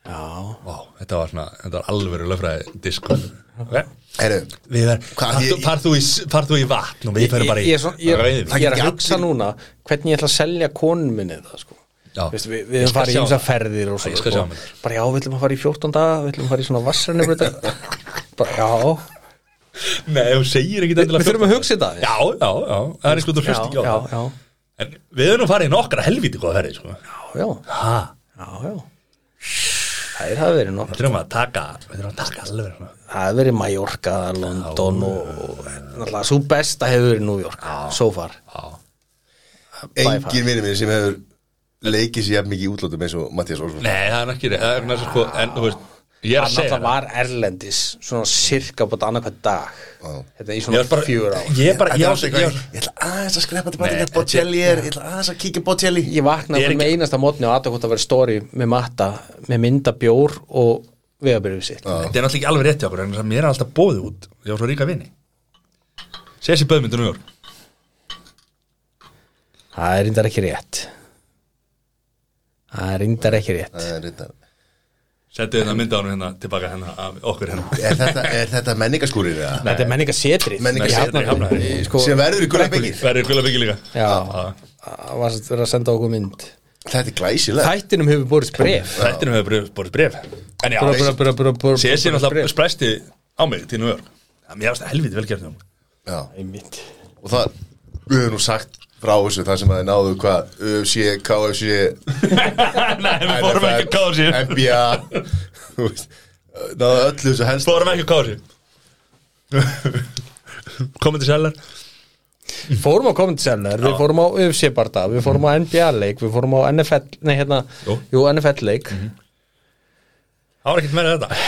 já, Vá, þetta var svona, þetta var alvöru löfraði disk okay. Herðu, Við verðum, Hvað, far, ég- far, þú í- far þú í vatn og við ferum bara í ég, er svo- ég, rauðvín. ég, ég er Það að er hugsa ekki allir- núna hvernig ég ætla að selja konun minni það sko Já. Vist, við, við Ég höfum skal farið í sjá ymsa það. ferðir og Já, svo ég skal sko. sjá með þér. bara já, við ætlum að fara í 14 daga við ætlum að fara í svona vassarni bara já, Nei, þú segir ekki við þurfum að hugsa þetta aðeins. Já, já, já, það er eins og þú hlust já, ekki á já, það já. En við erum farið í nokkra helvíti hvað ferði, sko. já, Ha, já, já það er hafa verið nokk við þurfum að taka, við þurfum að taka alveg sko. svona. það hefur verið Mallorca, London og, og náttúrulega svo besta hefur verið New York, so far engin vinur minn sem hefur leikið sér jafn mikið í útlótum eins og Mattias Olsson Nei, það er ekki, það er næst sko, en þú veist, ég er að hann segja alltaf það. var erlendis svona sirka búið annað hvað dag þetta í Ég svona er bara, fjör á ég er bara, Þetta er ég á alltaf sig, eitthvað, ég á ég ætla aðeins að skrepa tilbaka Nei, til Bocelli er, ég ætla aðeins að kíkja Bocelli ég Ég vaknaði er fyrir með einasta mótni og aðtökk að vera stóri með matta, með mynda bjór og vegabrjöfið sitt Þetta er náttúrulega ekki alveg rétt hjá okkur, en það- mér er alltaf bóðið út, ég á svo ríka vini. Sér sér böðmyndinu í orð. það er reyndar ekki rétt það er reyndar ekki rétt Það er reyndar- Settu þetta mynda ánum hérna tilbaka hérna af okkur hérna. Er þetta, er þetta menningaskúrir eða? þetta er menningasetrið Menningasetri, Í Hafnarfirði. Hafnarfirði. Sko, sem verður í Gullabingi hérna Verður gullabyggi líka. já, það var að vera að senda okkur mynd Þetta er glæsilegt þættinum hefur borist bref Þættinu hefur borist- borist bref En já, Bara- bara- bara- bara- bara- sér sér bara- náttúrulega spræsti á mig til nú örg Mér varst helviti velgerðnum Já. Einmitt. Og það, við höfum nú sagt frá þessu þar sem að þið náðu hvað UFC, KFC, Nei, við fórum ekki að káða sér NBA þú veist, Náðu öllu þessu helst Fórum ekki að káða sér Komið til sellar fórum á Comedy Cellar, við fórum á UFC barða, við fórum á NBA leik, við fórum á NFL, nei hérna, Jú. Mhm. jú NFL leik Það var ekkert meira þetta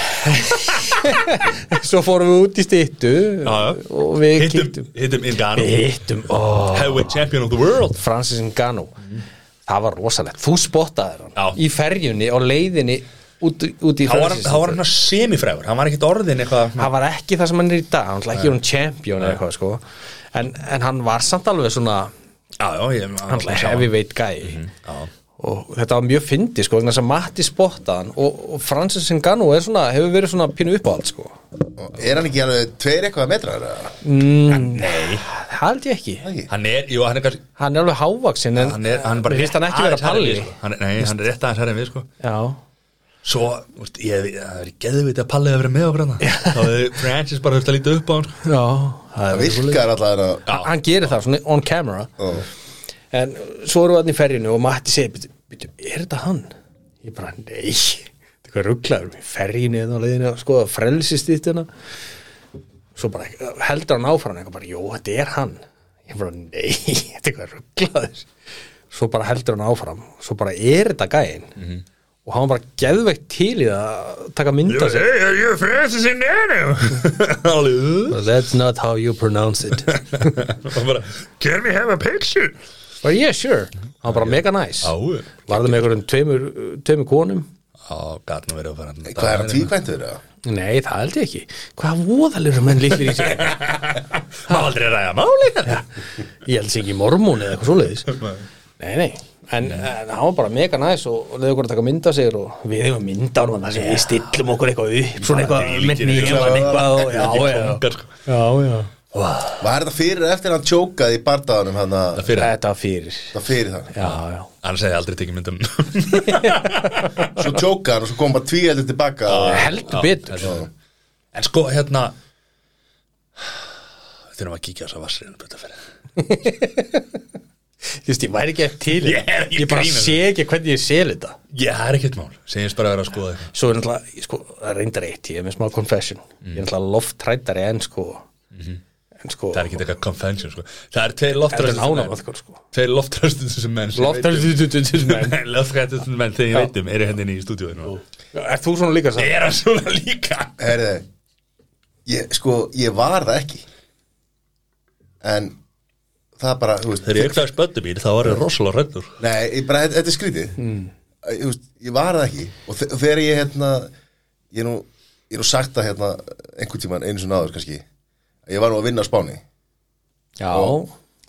svo fórum við út í stýttu já. og við Hittum, kíktum hittum Ingano við hittum, ó, Heavyweight champion of the world Francis Ngannou það var rosalegt, þú spottaðir hann Já. í ferjunni á leiðinni út, út í Þá var hann- Francis þá var hann semifrægur Hann var ekkert orðin eitthvað það var ekki það sem hann er í dag hann var ekki hann champion eða eitthvað sko en, en hann var samt alveg svona Já, já, ég hann var heavyweight guy Já. og þetta var mjög fyndi sko þess að Matti spottaðan og, og Francis Ngannou er svona, hefur verið svona pínu uppáhald sko Er hann ekki alveg tveir eitthvað metrar? eða? Nei, það held ég ekki hann er, jú, hann er kannski hann er alveg hávaksin en Hann er, hann er bara mér finnst hann ekki rétt vera aðeins hærri en palli við, sko. Hann er- Nei, hann er rétt aðeins herrið við, sko já, Svo, úst, ég, það er geðviti að Palli hefur verið með okkur hann Þá hefði Francis bara höfst að líta upp á hann sko. já það Það er virkar alltaf þarna Hann- hann gerir það svona on camera Ó. en svo erum við hann í ferjunni og Matti segir "Bíddu, bíddu, er þetta hann? ég bara nei þetta er hvað rugglaður í ferjunni eða á leiðinni að skoða frelsistýttina svo bara heldur hann áfram eitthvað bara jú þetta er hann ég bara nei þetta er hvað rugglaður svo bara heldur hann áfram svo bara er þetta gæinn og hann var bara geðveikt til í það að taka mynda sér Hey, are you Francis in there that's not how you pronounce it bara, Can we have a picture? bara yeah sure hann var bara mega nice Á, Varði með einhverjum tveimur, tveimur konum? á, gat nú verið að fara Hvað er hann tvíkvæntur? eða? Nei, það held ég ekki. Hvaða voðalur menn litlir í sig? Má aldrei ræða máli þetta Ég held sig ekki mormón eða eitthvað svoleiðis. Nei, nei. En, en hann var bara mega næs og, og leði okkur að taka mynda sér og við hefum mynda á hann þannig að við stillum okkur eitthvað upp svona eitthvað mynd nýjum hann eitthvað og já, já. Kongar, sko. Já, já. Var þetta fyrir eða eftir hann tjókaði í bardaðanum hann að Fyrir það, Þetta var fyrir. Það fyrir það Já, já. annars hefði ég aldrei tekið myndum Svo tjókaði hann og svo kom bara tvíældur tilbaka Ah. Heldur betur. En sko, hérna Við þurfum að kíkja á svo vassriðinu Bötaferðið Þú veist, ég væri ekki eftir til. Ég er ekki Ég bara grínast. sé ekki hvernig ég sé þetta. Já, það er ekkert mál, segjast bara að vera að skoða eitthvað svo er náttúrulega, ég sko, það er reyndar eitt ég er með smá confession, ég er náttúrulega lofttrættari en sko en sko, Mhm. Það er ekki eitthvað convention, sko Það er tveir það er loftræðstum nánáð sko. Tveir loftræðstum sem menn sem ég veit um. lofttrættari Nei, Loftræðstum menn þegar ég veit um eru henni í stúdíóinu er þú svona líka sann? Það er hann svona líka Herði ég, Sko, ég var það ekki En það bara, þú veist Þegar ég eitthvað spöndu mín, þá var ég rosalega rættur Nei, ég bara, þetta, þetta er skrítið mm. ég, veist, ég var það ekki Og þe- og þegar ég, hérna Ég er nú, ég er nú sagt það, hérna Einhvern tímann, einu sinni áður, kannski að Ég var nú að vinna á Spáni já,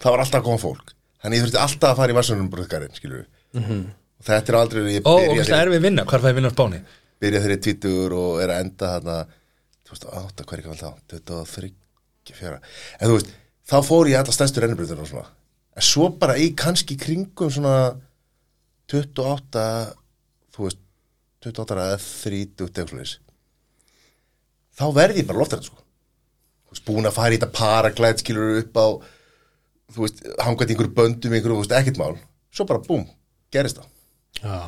Það var alltaf að koma fólk Þannig ég þurfti alltaf að fara í vassunum bröðkarinn, skilur við Þetta er aldrei ég Ó, byrjaði- og það er við vinna, hvar fæði vinna á spáni? byrja þeirri tvítugur og er að enda þarna 2008, hver ekki vel þá 23, 24 en þú veist, þá fór ég í alla stænstur ennibrytunum og svona, en svo bara í kannski kringum svona 28 þú veist, 28 eða 30 eitthvað svoleiðis. þá verði ég bara loftrætt sko Þú veist, búin að fara í þetta paraglæð skilur upp á þú veist, hangaði einhverju böndum einhverju, þú veist, ekkert mál svo bara búm, gerist það Já.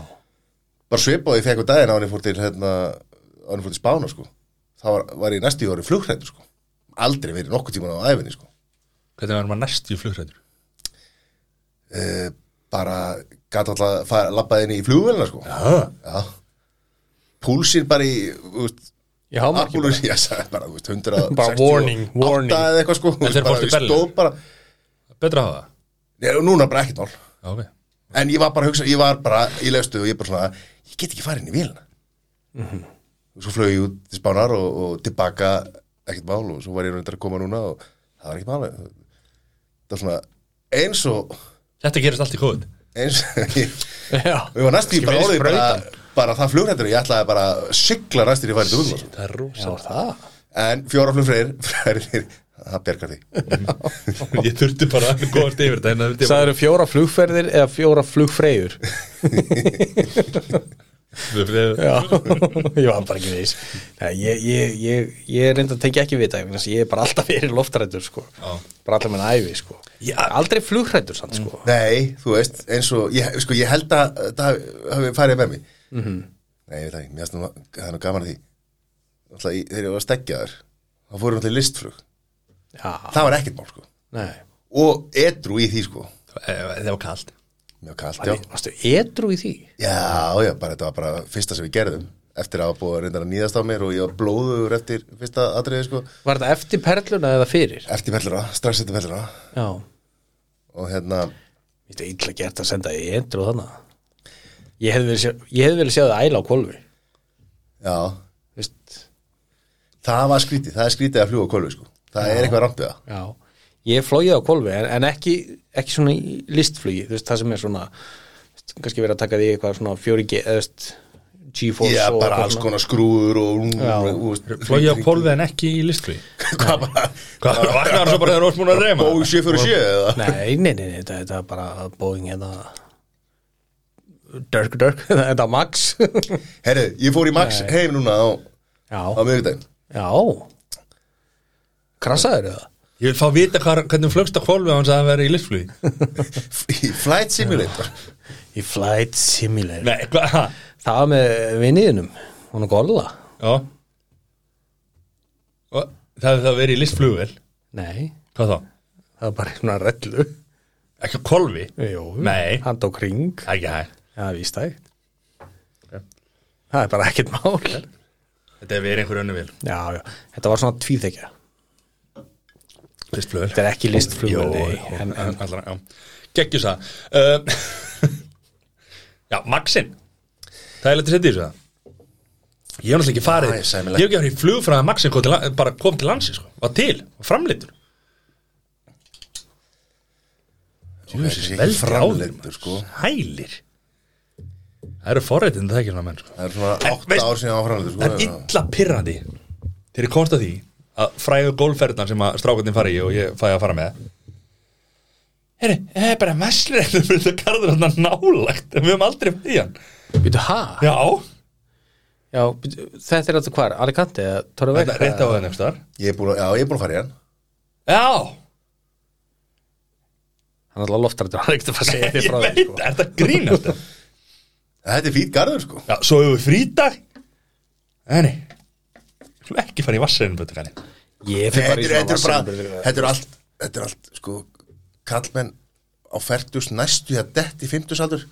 bara svipaði þegar eitthvað um daginn á henni fór til hérna, á henni fór til Spána sko þá var, var ég næstu í orðið flughræntur sko aldrei verið nokkuð tíman á æfinni sko Hvernig verður maður næst í flugrættur? e, bara gæti alltaf að labba inn í flugvelina sko Já. Já. púlsir bara í þú veist, Ég há maður Apollo, ég sagði bara, þú veist, 100 Bara warning, warning. eða eitthvað sko, þú En veist, þeir bara, fórstu ég Berlín? stóð bara Betra að hafa það? Nei, og núna bara ekkert mál Já, ok. en ég var bara að hugsa, ég var bara, ég lestu og ég bara svona, ég get ekki farið inn í vélina og svo flög ég út til Spánar og, og tilbaka ekkert mál og svo var ég reyndar að koma núna og það var ekkert mál það var svona, eins og Þetta gerist allt í COVID. eins og ég, Ah. Já. og ég var næstu Ekki ég bara minnst orðið bara, brautan. bara það flugrættur ég ætlaði bara að sigla næstir ég farið til útlanda Það er rosa. Já, það en fjóra flugfræðir, fræðir það bergar því Ég þurfti bara að góðast yfir þetta. en það vildi ég Það eru fjóra flugferðir eða fjóra flugfreyjur bara- Já, ég var bara ekki veist Nei, ég, ég, ég, ég reynda að tengja ekki vita vegna þess að ég er bara alltaf verið loftrættur sko. Já. bara alltaf minna æfi sko. Já. Mm. aldrei flugrættur samt sko. Nei, þú veist, eins og ég, sko, ég held að það hafi- hafi farið með mig Nei, ég veit það ekki, mér finnst nú- það er nú gaman að því Alltaf, í- þegar ég var að stekja þær þá fórum alltaf í listflug Já, Það var ekkert mál, sko nei Og edru í því, sko Eh, Það var kallt. Mjög kalt, já Varstu edru í því? Já, já, bara þetta var bara fyrsta sem við gerðum Eftir að hafa búið að reynda að nýðast á mér og ég var blóður eftir fyrsta atriði, sko Var þetta eftir perluna eða fyrir? Eftir pellura, strax eftir pellura Já Og hérna, Þetta er illa gert að senda edru þannig Ég hefði verið sjá- ég hefði verið séð að æla á kolvi já Vist? Það var skrítið, það er skrítið að fljúga á kólfi, sko Það er eitthvað rampið það Já Ég hef flogið á kolvi en, en ekki, ekki svona í listflugi þú veist, það sem er svona þú veist, kannski verið að taka því eitthvað svona 4G eða þú veist, G-Force Já, og bara eitthvað alls svona. konar skrúður og Já. Flóið á pólfið en ekki í listflögi. Hvað bara Hvað, það vaknar hann svo bara þegar orðmúna að reyma? Bói 7 fyrir 7 eða Nei, nei, nei, nei þetta, þetta er bara Boeing hérna Dirk, Dirk, þetta er Max Já, Herru, ég fór í Max heim núna á, á miðvikudaginn já Krassaður það? Ég vil fá að vita hvar, hvernig flögst að hvolfi á hans að vera í listflugi. Í Flight Simulator Í Flight Simulator Nei, hvað? ha? Það var með vinniðinum, hún er golla Já. Og Það hefði það verið í listflugvel. Nei, Hvað þá? það var bara svona rellu Ekki á hvolfi? Jú, Nei. hann tók ring Það er ekki hægt. Já, víst það Það er bara ekkert mál Þetta hefði verið einhver önnu vil. Já, já, þetta var svona tvíþekja Listflugvel. Þetta er ekki listflug Jó, nei, jó, en, en, allara, já Gekkjus það uh, Já, Maxin Það er leitt að setja í þessu það Ég hef náttúrulega ekki farið Æ, sæmilegt. Ég hef ekki farið í flug frá að Maxin kom til, la- bara kom til landsins sko. Var til, var framleitur Þessi veldi framleyndur sko Hælir Það eru forreitin það ekki svona menn sko. Það er svona En 8 veist- ár síðan á framleyndur Það er sko illa pirrandi Þegar ég komst að því að fræðu golfferðnar sem að strákarnir fara í og ég fæði að fara með Herri, það er bara messleirinu fyrir þetta garður hann nálægt en við höfum aldrei farið í hann Býtu, ha? Já, Já, býtu, þetta er alltaf hvar, Alicante eða Torre Þetta Vega er rétt á það nefnstar Ég er búin að, já, ég er búin að fara í hann Já, Hann er alltaf loftrættur, hann er ekkert að fara að segja ég þig frá veit, því sko. er þetta grínast það? Þetta er fýt garður sko Já, svo hefur við frídag Nei, nei Ég vil ekki fara í vassarinn betur kanni Ég fyrir Þetta bara í er þetta svona er bara, vassabröður þetta er allt Þetta er allt sko Kallmenn á færtus næstu að dett í 50 aldur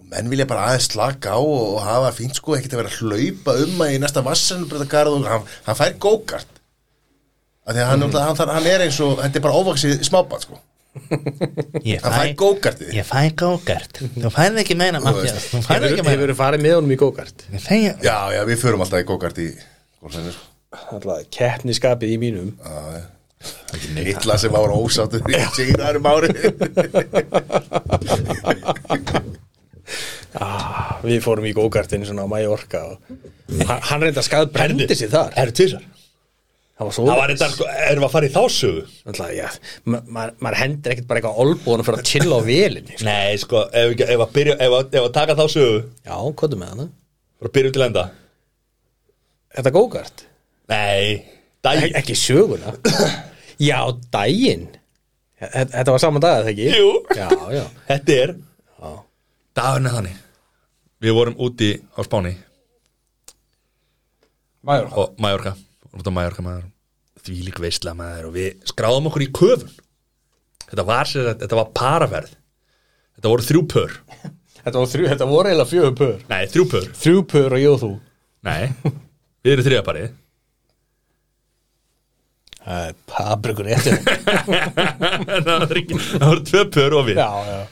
og menn vilja bara aðeins slaka á og, og hafa fínt sko, ekkert að vera að hlaupa um að í næsta vassanbröðagarð og hann, hann fær gókart af því að hann, mm. hann, þar- hann er eins og þetta er bara óvaksið smábað sko Ég hann fær fæ, gókartið ég fæ gókart Þú færð ekki meina, Mattias Þú færð ekki meina Hefur þú farið með honum í gókart? Ég fæ- já, já, við förum alltaf í gókart í golfinu sko. Alltaf keppniskapið í mínum illa sem ára ósáttur í signarum ári ah, Við fórum í gókartinu svona á Mallorca og hann, hann reynda skað brendi sig þar Er tvisar Það var Það svo var þetta, sko, erum við að fara í þásögu Alltaf, já, ma- maður maður hendur ekkert bara eitthvað olbúðan fyrir að chilla á velinni sko. Nei, sko, ef, ekki- ef, að, byrja, ef, að, ef að taka þásögu Já, kóttu með hana Bara byrjum til enda Þetta gókart? Nei, dag Ek, ekki söguna Já, daginn Þetta þetta var saman dag, eða ekki? Jú. Já, já Þetta er Dagurinn er þannig Við vorum úti á Spáni Mæður og Mallorca út á Mallorca maður því lík veistla maður og við skráðum okkur í köfun þetta var sér að þetta var paraferð þetta voru þrjú pör Þetta, var þrjú, þetta voru eiginlega fjögur pör nei þrjú pör Þrjú pör og ég og þú nei við erum þriðaparið Pabrikur réttur það var ekki það voru tvö pör og við Já, já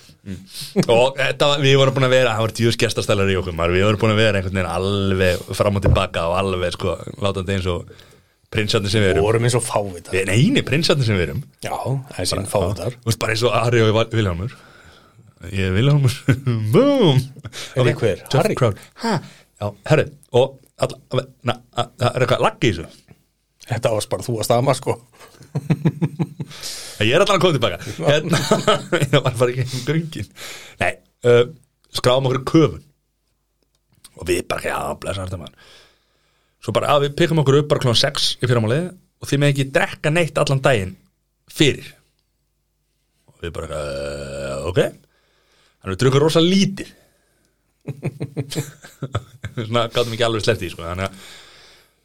og þetta, var- við vorum búin að vera það voru tíus gestastælar í okkur maður við vorum búin að vera einhvern veginn alveg fram og tilbaka og alveg sko látandi eins og prinsarnir sem við erum Vorum eins og fávitar við, neini prinsarnir sem við erum Já, það er sín fávitar Þú veist bara eins og Harry og Val- Vilhjálmur Ég er Vilhjálmur Boom Er Ok, einhver? Jeff Harry? Crowd. Ha? Já, herri Og alla, na, a, það er eitthvað laggi í þessu Þetta varst bara þú að stama sko Ég er allan að koma tilbaka Hérna Ég var bara ekki um göngin Nei uh, Skráum okkur köfun Og við bara Já, blessa þetta mann Svo bara að við pikkum okkur upp bara klón 6 í fyrramálið og þið með ekki drekka neitt allan daginn fyrir og við bara uh, ok þannig við drukum rosa lítið svona gáttum ekki alveg sleppti sko. þannig að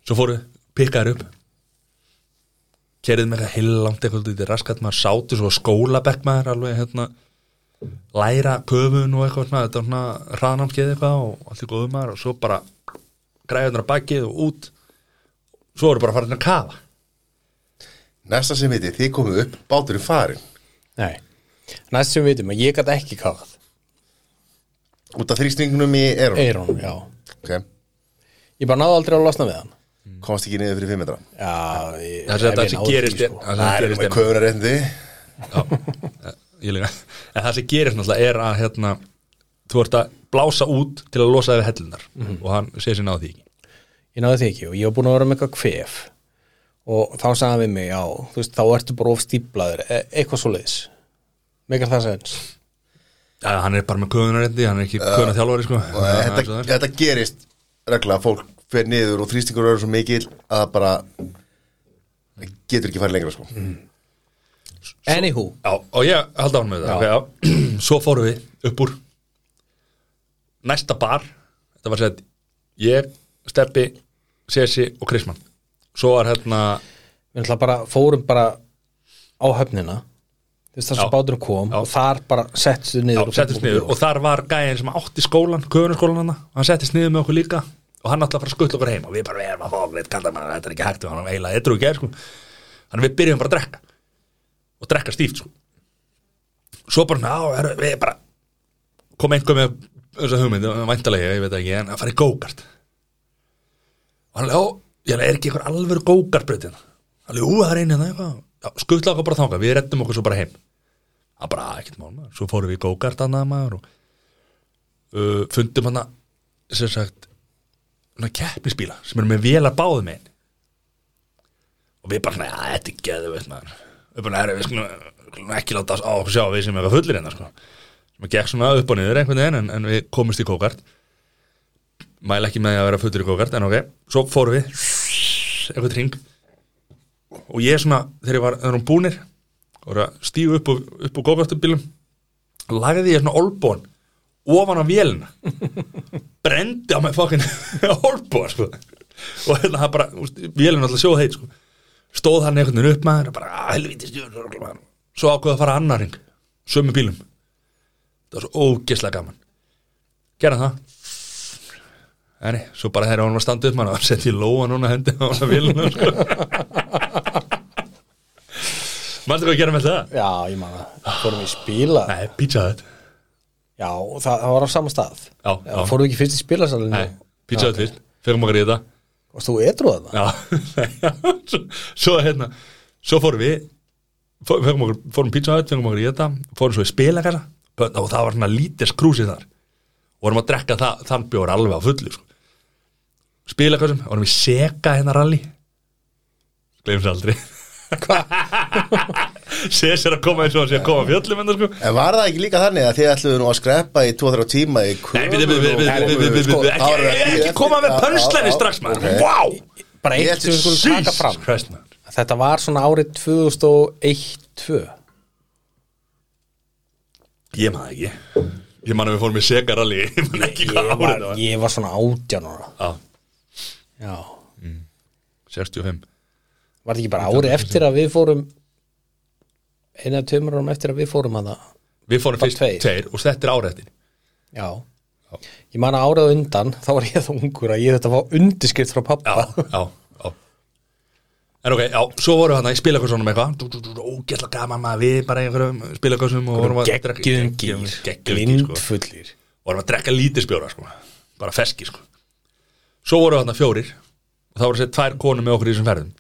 svo fóru pikkaður upp kerðið með eitthvað heilangt eitthvað út í raskat maður sátu svo skólabekk maður alveg hérna læra köfun og eitthvað svona, þetta var svona hraðnámskeið eitthvað og allt í góðum maður og svo bara græðunar að bakið og út svo eru bara farin að kafa Næsta sem heiti, þið komum upp, bátur í farin Nei Næst sem við vitum að ég gæti ekki kafað Út af þrýstingunum í Eron Eyrón, já okay. Ég bara náði aldrei að losna við hann Komast ekki niður fyrir 5 metra Já, ég, það er ef ég það sem náði gerist því, sko. er- það sem gerist Með er- köfunarréttindi Já, ég líka En það sem gerist náttúrulega er að hérna, þú ert að blása út til að losa þér hellunar Mhm. og hann segir sér náðu því ekki Ég náði því ekki og ég var búin að vera með eitthvað kvef og þá sagði hann við mig, já, þú veist, þá ertu bara of stíplaður, e eitthvað svo leiðis Megar það sens Já, hann er bara með köðunarrendi, hann er ekki köðunar þjálfari sko. Og Já, svo þetta, það er. þetta gerist regla fólk fer niður og þrýstingur eru svo mikil að það bara getur ekki farið lengra sko Mm. Anywho, Já, og ég haldi ánum með það okay, já. Svo fórum við upp úr næsta bar þetta var sér ég, Steppi, Sessi og Krisman Svo var hérna við ætla bara, fórum bara á höfnina þú veist, þar Já. sem báturum kom Já. og þar bara settstu já, niður og settist fengum niður okkur og þar var gæðin sem átti skólan, köðunarskólan hann hann settist niður með okkur líka og hann ætlaði að fara að skutla okkur heim og við bara, við erum að fá við kallum hann, þetta er ekki hægt við hann eiginlega, þetta er ekki sko. þannig að við byrjum bara að drekka og drekka stíft sko. svo bara, ná, er, við bara kom einhver með þessa hugmynd, væntalega, ég veit það ekki en að fara í go-kart og hann, já, ég er ekki einhver alvöru go-kartbreytin hann, jú, það er einu hérna, eitthvað. Já, skutla okkur bara þangað, við reddum okkur svo bara heim að bara "Ah, ekkert mál maður, svo fórum við í go-kart annað maður og uh, fundum hana sem sagt svona keppnisbíla sem eru með vélar báðum einn og við bara svona, "Ja, þetta er geðu veit maður við bara, "Herra, við skulum, skulum ekki láta á okkur sjá við sem eitthvað fullir hérna sko. sem að gekk svona upp og niður einhvern veginn en, en við komumst í go-kart mæla ekki með því að vera fullir í go-kart en ok, svo fórum við eitthvað ring og ég svona, þegar ég var, þegar hún búnir og voru að stíu upp, og- upp á góðvartabílum lagði ég svona olbón ofan á vélina brendi á mig fokkin olbón sko. og hérna það bara, úst, vélina alltaf sjóð heit sko. stóð hann einhvern veginn upp maður og bara, "Ah, helvítið stjórn svo ákveða að fara annar hring sömu bílum það var svo ógeðslega gaman gerða það Eri, svo bara þegar hann var að standa upp maður og setti í lóa núna hendi á hann að vélina sko. Manstu hvað að gera með það? Já, ég man það, fórum við spila Nei, pizza hut Já, og það, það var á sama stað Já, já. Fórum við ekki fyrst í spilasalinu Nei, pizza hut fyrst, fyrir maður í þetta og þú etruð það Já, svo, svo hérna Svo fórum við fó- fengum okkur, fórum pizza hut, fengum okkur í þetta fórum svo í spilakassa og það var svona lítið skrúsið þar vorum að drekka það, þann bjór alveg á fullu sko. spilakassum, vorum við seka hérna rally gleymst aldrei Sés er að koma eins og hann sé að koma af fjöllum hérna sko En var það ekki líka þannig að þið ætluðu nú að skreppa í 2-3 tíma í Nei, við, við, við, við, við, við, við, við, Það var ekki, ekki ekki eftir- koma með Já, pönslæni já, strax maður, ok. vá Bara eitt sem við skulum taka fram Christ maður Þetta var svona árið 2001-2 Ég maður ekki Ég man að við fórum í Segaralli Ég man ekki hvað ég árið var, það var ég var svona átján ára Já, já, 65 var þetta ekki bara ári eftir að við fórum eina tömur árum eftir að við fórum að það Við fórum Bara fyrst tveir. tveir. og þetta er árættin já ég man að árað undan, þá var ég þá ungur að ég þetta fá undirskrift frá já, pappa já, já En ok, já, svo voru hann í spilakossunum eitthvað Dú, dú, dú, dú, Ógæsla gaman maður við bara í einhverjum spilakossunum og vorum að drekka- geggjum geggjum- gýr, geggjum gír, sko. blindfullir vorum að drekka lítisbjóra sko. bara feski sko. svo vorum við hann fjórir og það voru sér tvær konur með okkur í þessum ferðum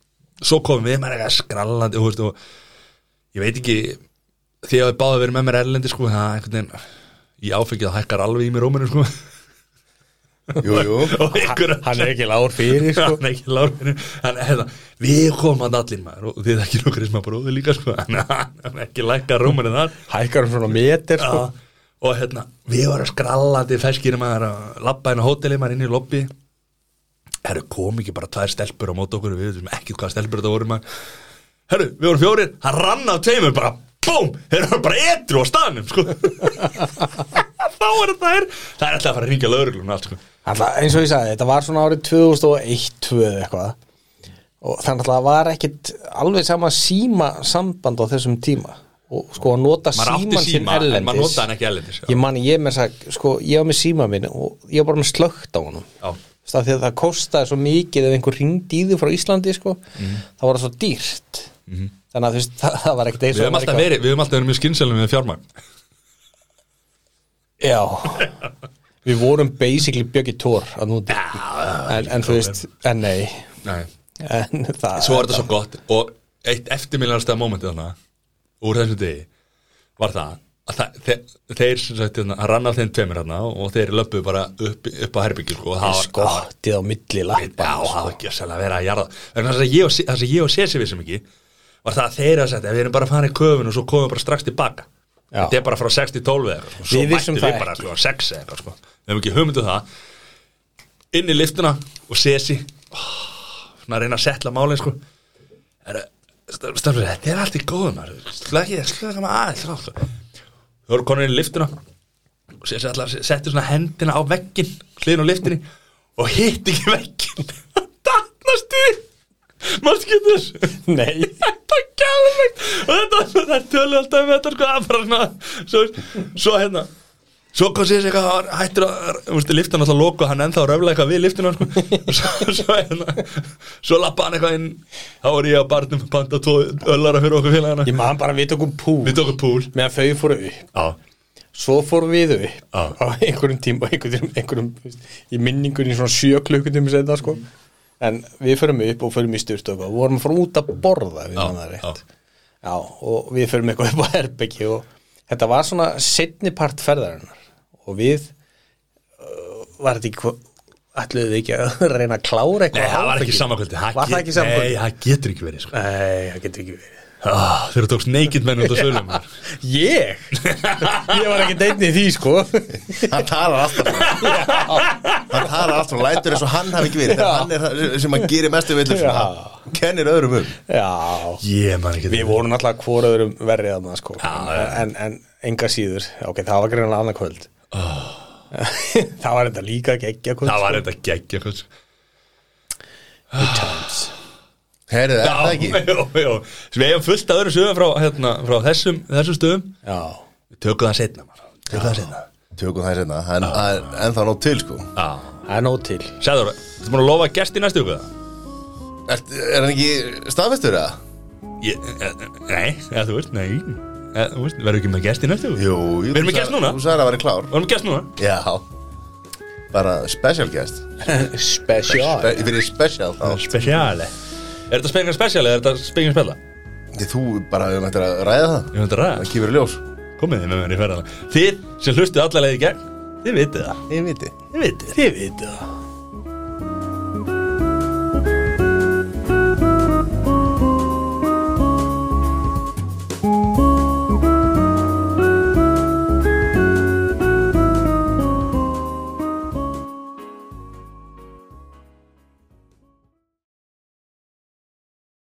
svo komum við maður eitthvað skrallandi og, þú veist, og ég veit ekki því að við báðum verið með mér erlendi sko, það einhvern veginn ég áfengið að hækkar alveg í mér róminu sko. Jú, jú og einhverja hann er ekki lár fyrir sko. hann er ekki lárinu hann, hérna, við komum að allir maður og þið ekki nokkur sem að bróðu líka sko. hann hann er ekki lækkar róminu þar hækkar um svona meter sko. Já, og hérna, við varum skrallandi feskir maður að labba inn á hóteli maður inn í lobby herru, kom ekki bara tvær stelpur á móti okkur við veitum ekki hvað stelpur þetta voru maður herru, við vorum fjórir, hann rann af tveimur bara, búm, þeir eru bara etru á staðnum sko þá er þetta þær það er alltaf að fara að ringja lögreglun allt sko Alltaf, eins og ég sagði, þetta var svona árið 2001, 2002 eða eitthvað og þannig að það var ekkit alveg sama síma samband á þessum tíma og sko að nota maður átti síman sinn síma, en maður erlendis notaði hann ekki erlendis já, ég man, ég með sag, sko, ég var með síma minn og ég var bara með slögt á honum já, það því að það kostaði svo mikið ef einhver ringdi í því frá Íslandi sko, Mhm. það var svo dýrt þannig að þú veist, það, það var ekkit eins við og höfum alltaf Ameríka- verið, við höfum alltaf verið mjög skynsælum við fjármagn Já Við vorum basically Björgi Tór að núti en, en þú veist, en nei nei en það, svo var þetta svo gott og eitt eftirmiljarnstæða mómentið þarna úr þessu degi var það að það, þeir, þeir sem sagt hérna, hann rann af þeim tveimur hérna og þeir löpuðu bara upp, upp á herbyggju sko og það var skottið á milli lappa Já, það var ekki að vera að jarða Vegna þess að ég og Se- það sem ég og Sesi vissum ekki var það að þeir að setja, við erum bara að fara í köfun og svo komum við bara strax tilbaka Já. þetta er bara frá 6 til 12 eða eitthvað sko. svo Við vissum mættum það við bara sko, 6 eða eitthvað sko. við hefum ekki hugmyndu það inn í liftuna og Sesi ó, svona að reyna að setla málin sko. er, stafnir, þetta er allt í góðum slagið, slagið maður aðeins frá, sko. þau voru konur inn í liftuna og sér sér allar setti svona hendina á veggin hliðin á liftinni og hitt ekki veggin datnastu maður skilur þess Nei, þetta er gæðvegt og þetta það er tölu alltaf með þetta sko að bara svona svo, svo hérna svo kom sér sér eitthvað hann var hættur að þú veist, liftan alltaf loku hann ennþá röfla eitthvað við liftinu sko. Og svo, svo hérna svo lappa hann eitthvað inn þá var ég á barnum að panta tvo öllara fyrir okkur félagana ég man bara við tókum púl við tókum púl meðan þau fóru upp, á, svo fórum við upp Já. á einhverjum tíma einhverjum, einhverjum, þú veist, í minningunni svona sjö klukkutum sem þetta sko en við förum upp og förum í styrst og við vorum að fara út að borða Já, við mann það já. rétt Já, og við förum eitthvað upp á herbyggi og þetta var svona setni part ferðarinnar og við uh, var þetta ekki hvað ætluðu við ekki að reyna að klára nei eitthvað það var ekki áfengi? samakvöldi Var það ekki samakvöldi? nei það getur ekki verið sko Nei, það getur ekki verið Ah, þegar þú tókst naked menn út á sölum Ég? Ég var ekki deitni í því sko Hann talar alltaf Hann talar alltaf og lætur eins og hann hafi ekki verið Þegar hann er það sem hann gerir mestu villur sem hann kennir öðrum um Já, Ég man ekki við vorum náttúrulega hvoraðurum verrið að maður sko Já, já. En, en enga síður, ok, það var greinlega annað kvöld Ah. Það var þetta líka geggja kvöld Það var þetta geggja sko. hvað times Herðu, er það ekki? Já, já, Svo Við hefum fullt að öðru sögum frá, hérna, frá þessum, þessum stöðum Já, Við tökum það setna Tökum það setna Tökum hérna, það sérna, en það er ennþá nóg til sko Já það er nóg til Sæður, þú múin að lofa gesti í næstu ykkur Er, er hann ekki staðfestur eða? e, Nei, eða þú veist, nei eða, Þú veist, verður ekki með gesti í næstu ykkur Jú, jú, Við þú erum með gest sagðir- núna. Þú sagði að vera klár Varum gest núna Já Bara special guest Special Spe Fyrir special þá Spesiali Er þetta spengar spesiali eða er þetta spengar spella? Þið þú bara höfum eftir að ræða það Ég hundi Það ræða kemur í ljós Komið þið með mér í ferðana Þið sem hlustuð allalegið gegn Þið vitið það Ég viti Þið vitið Þið vitið það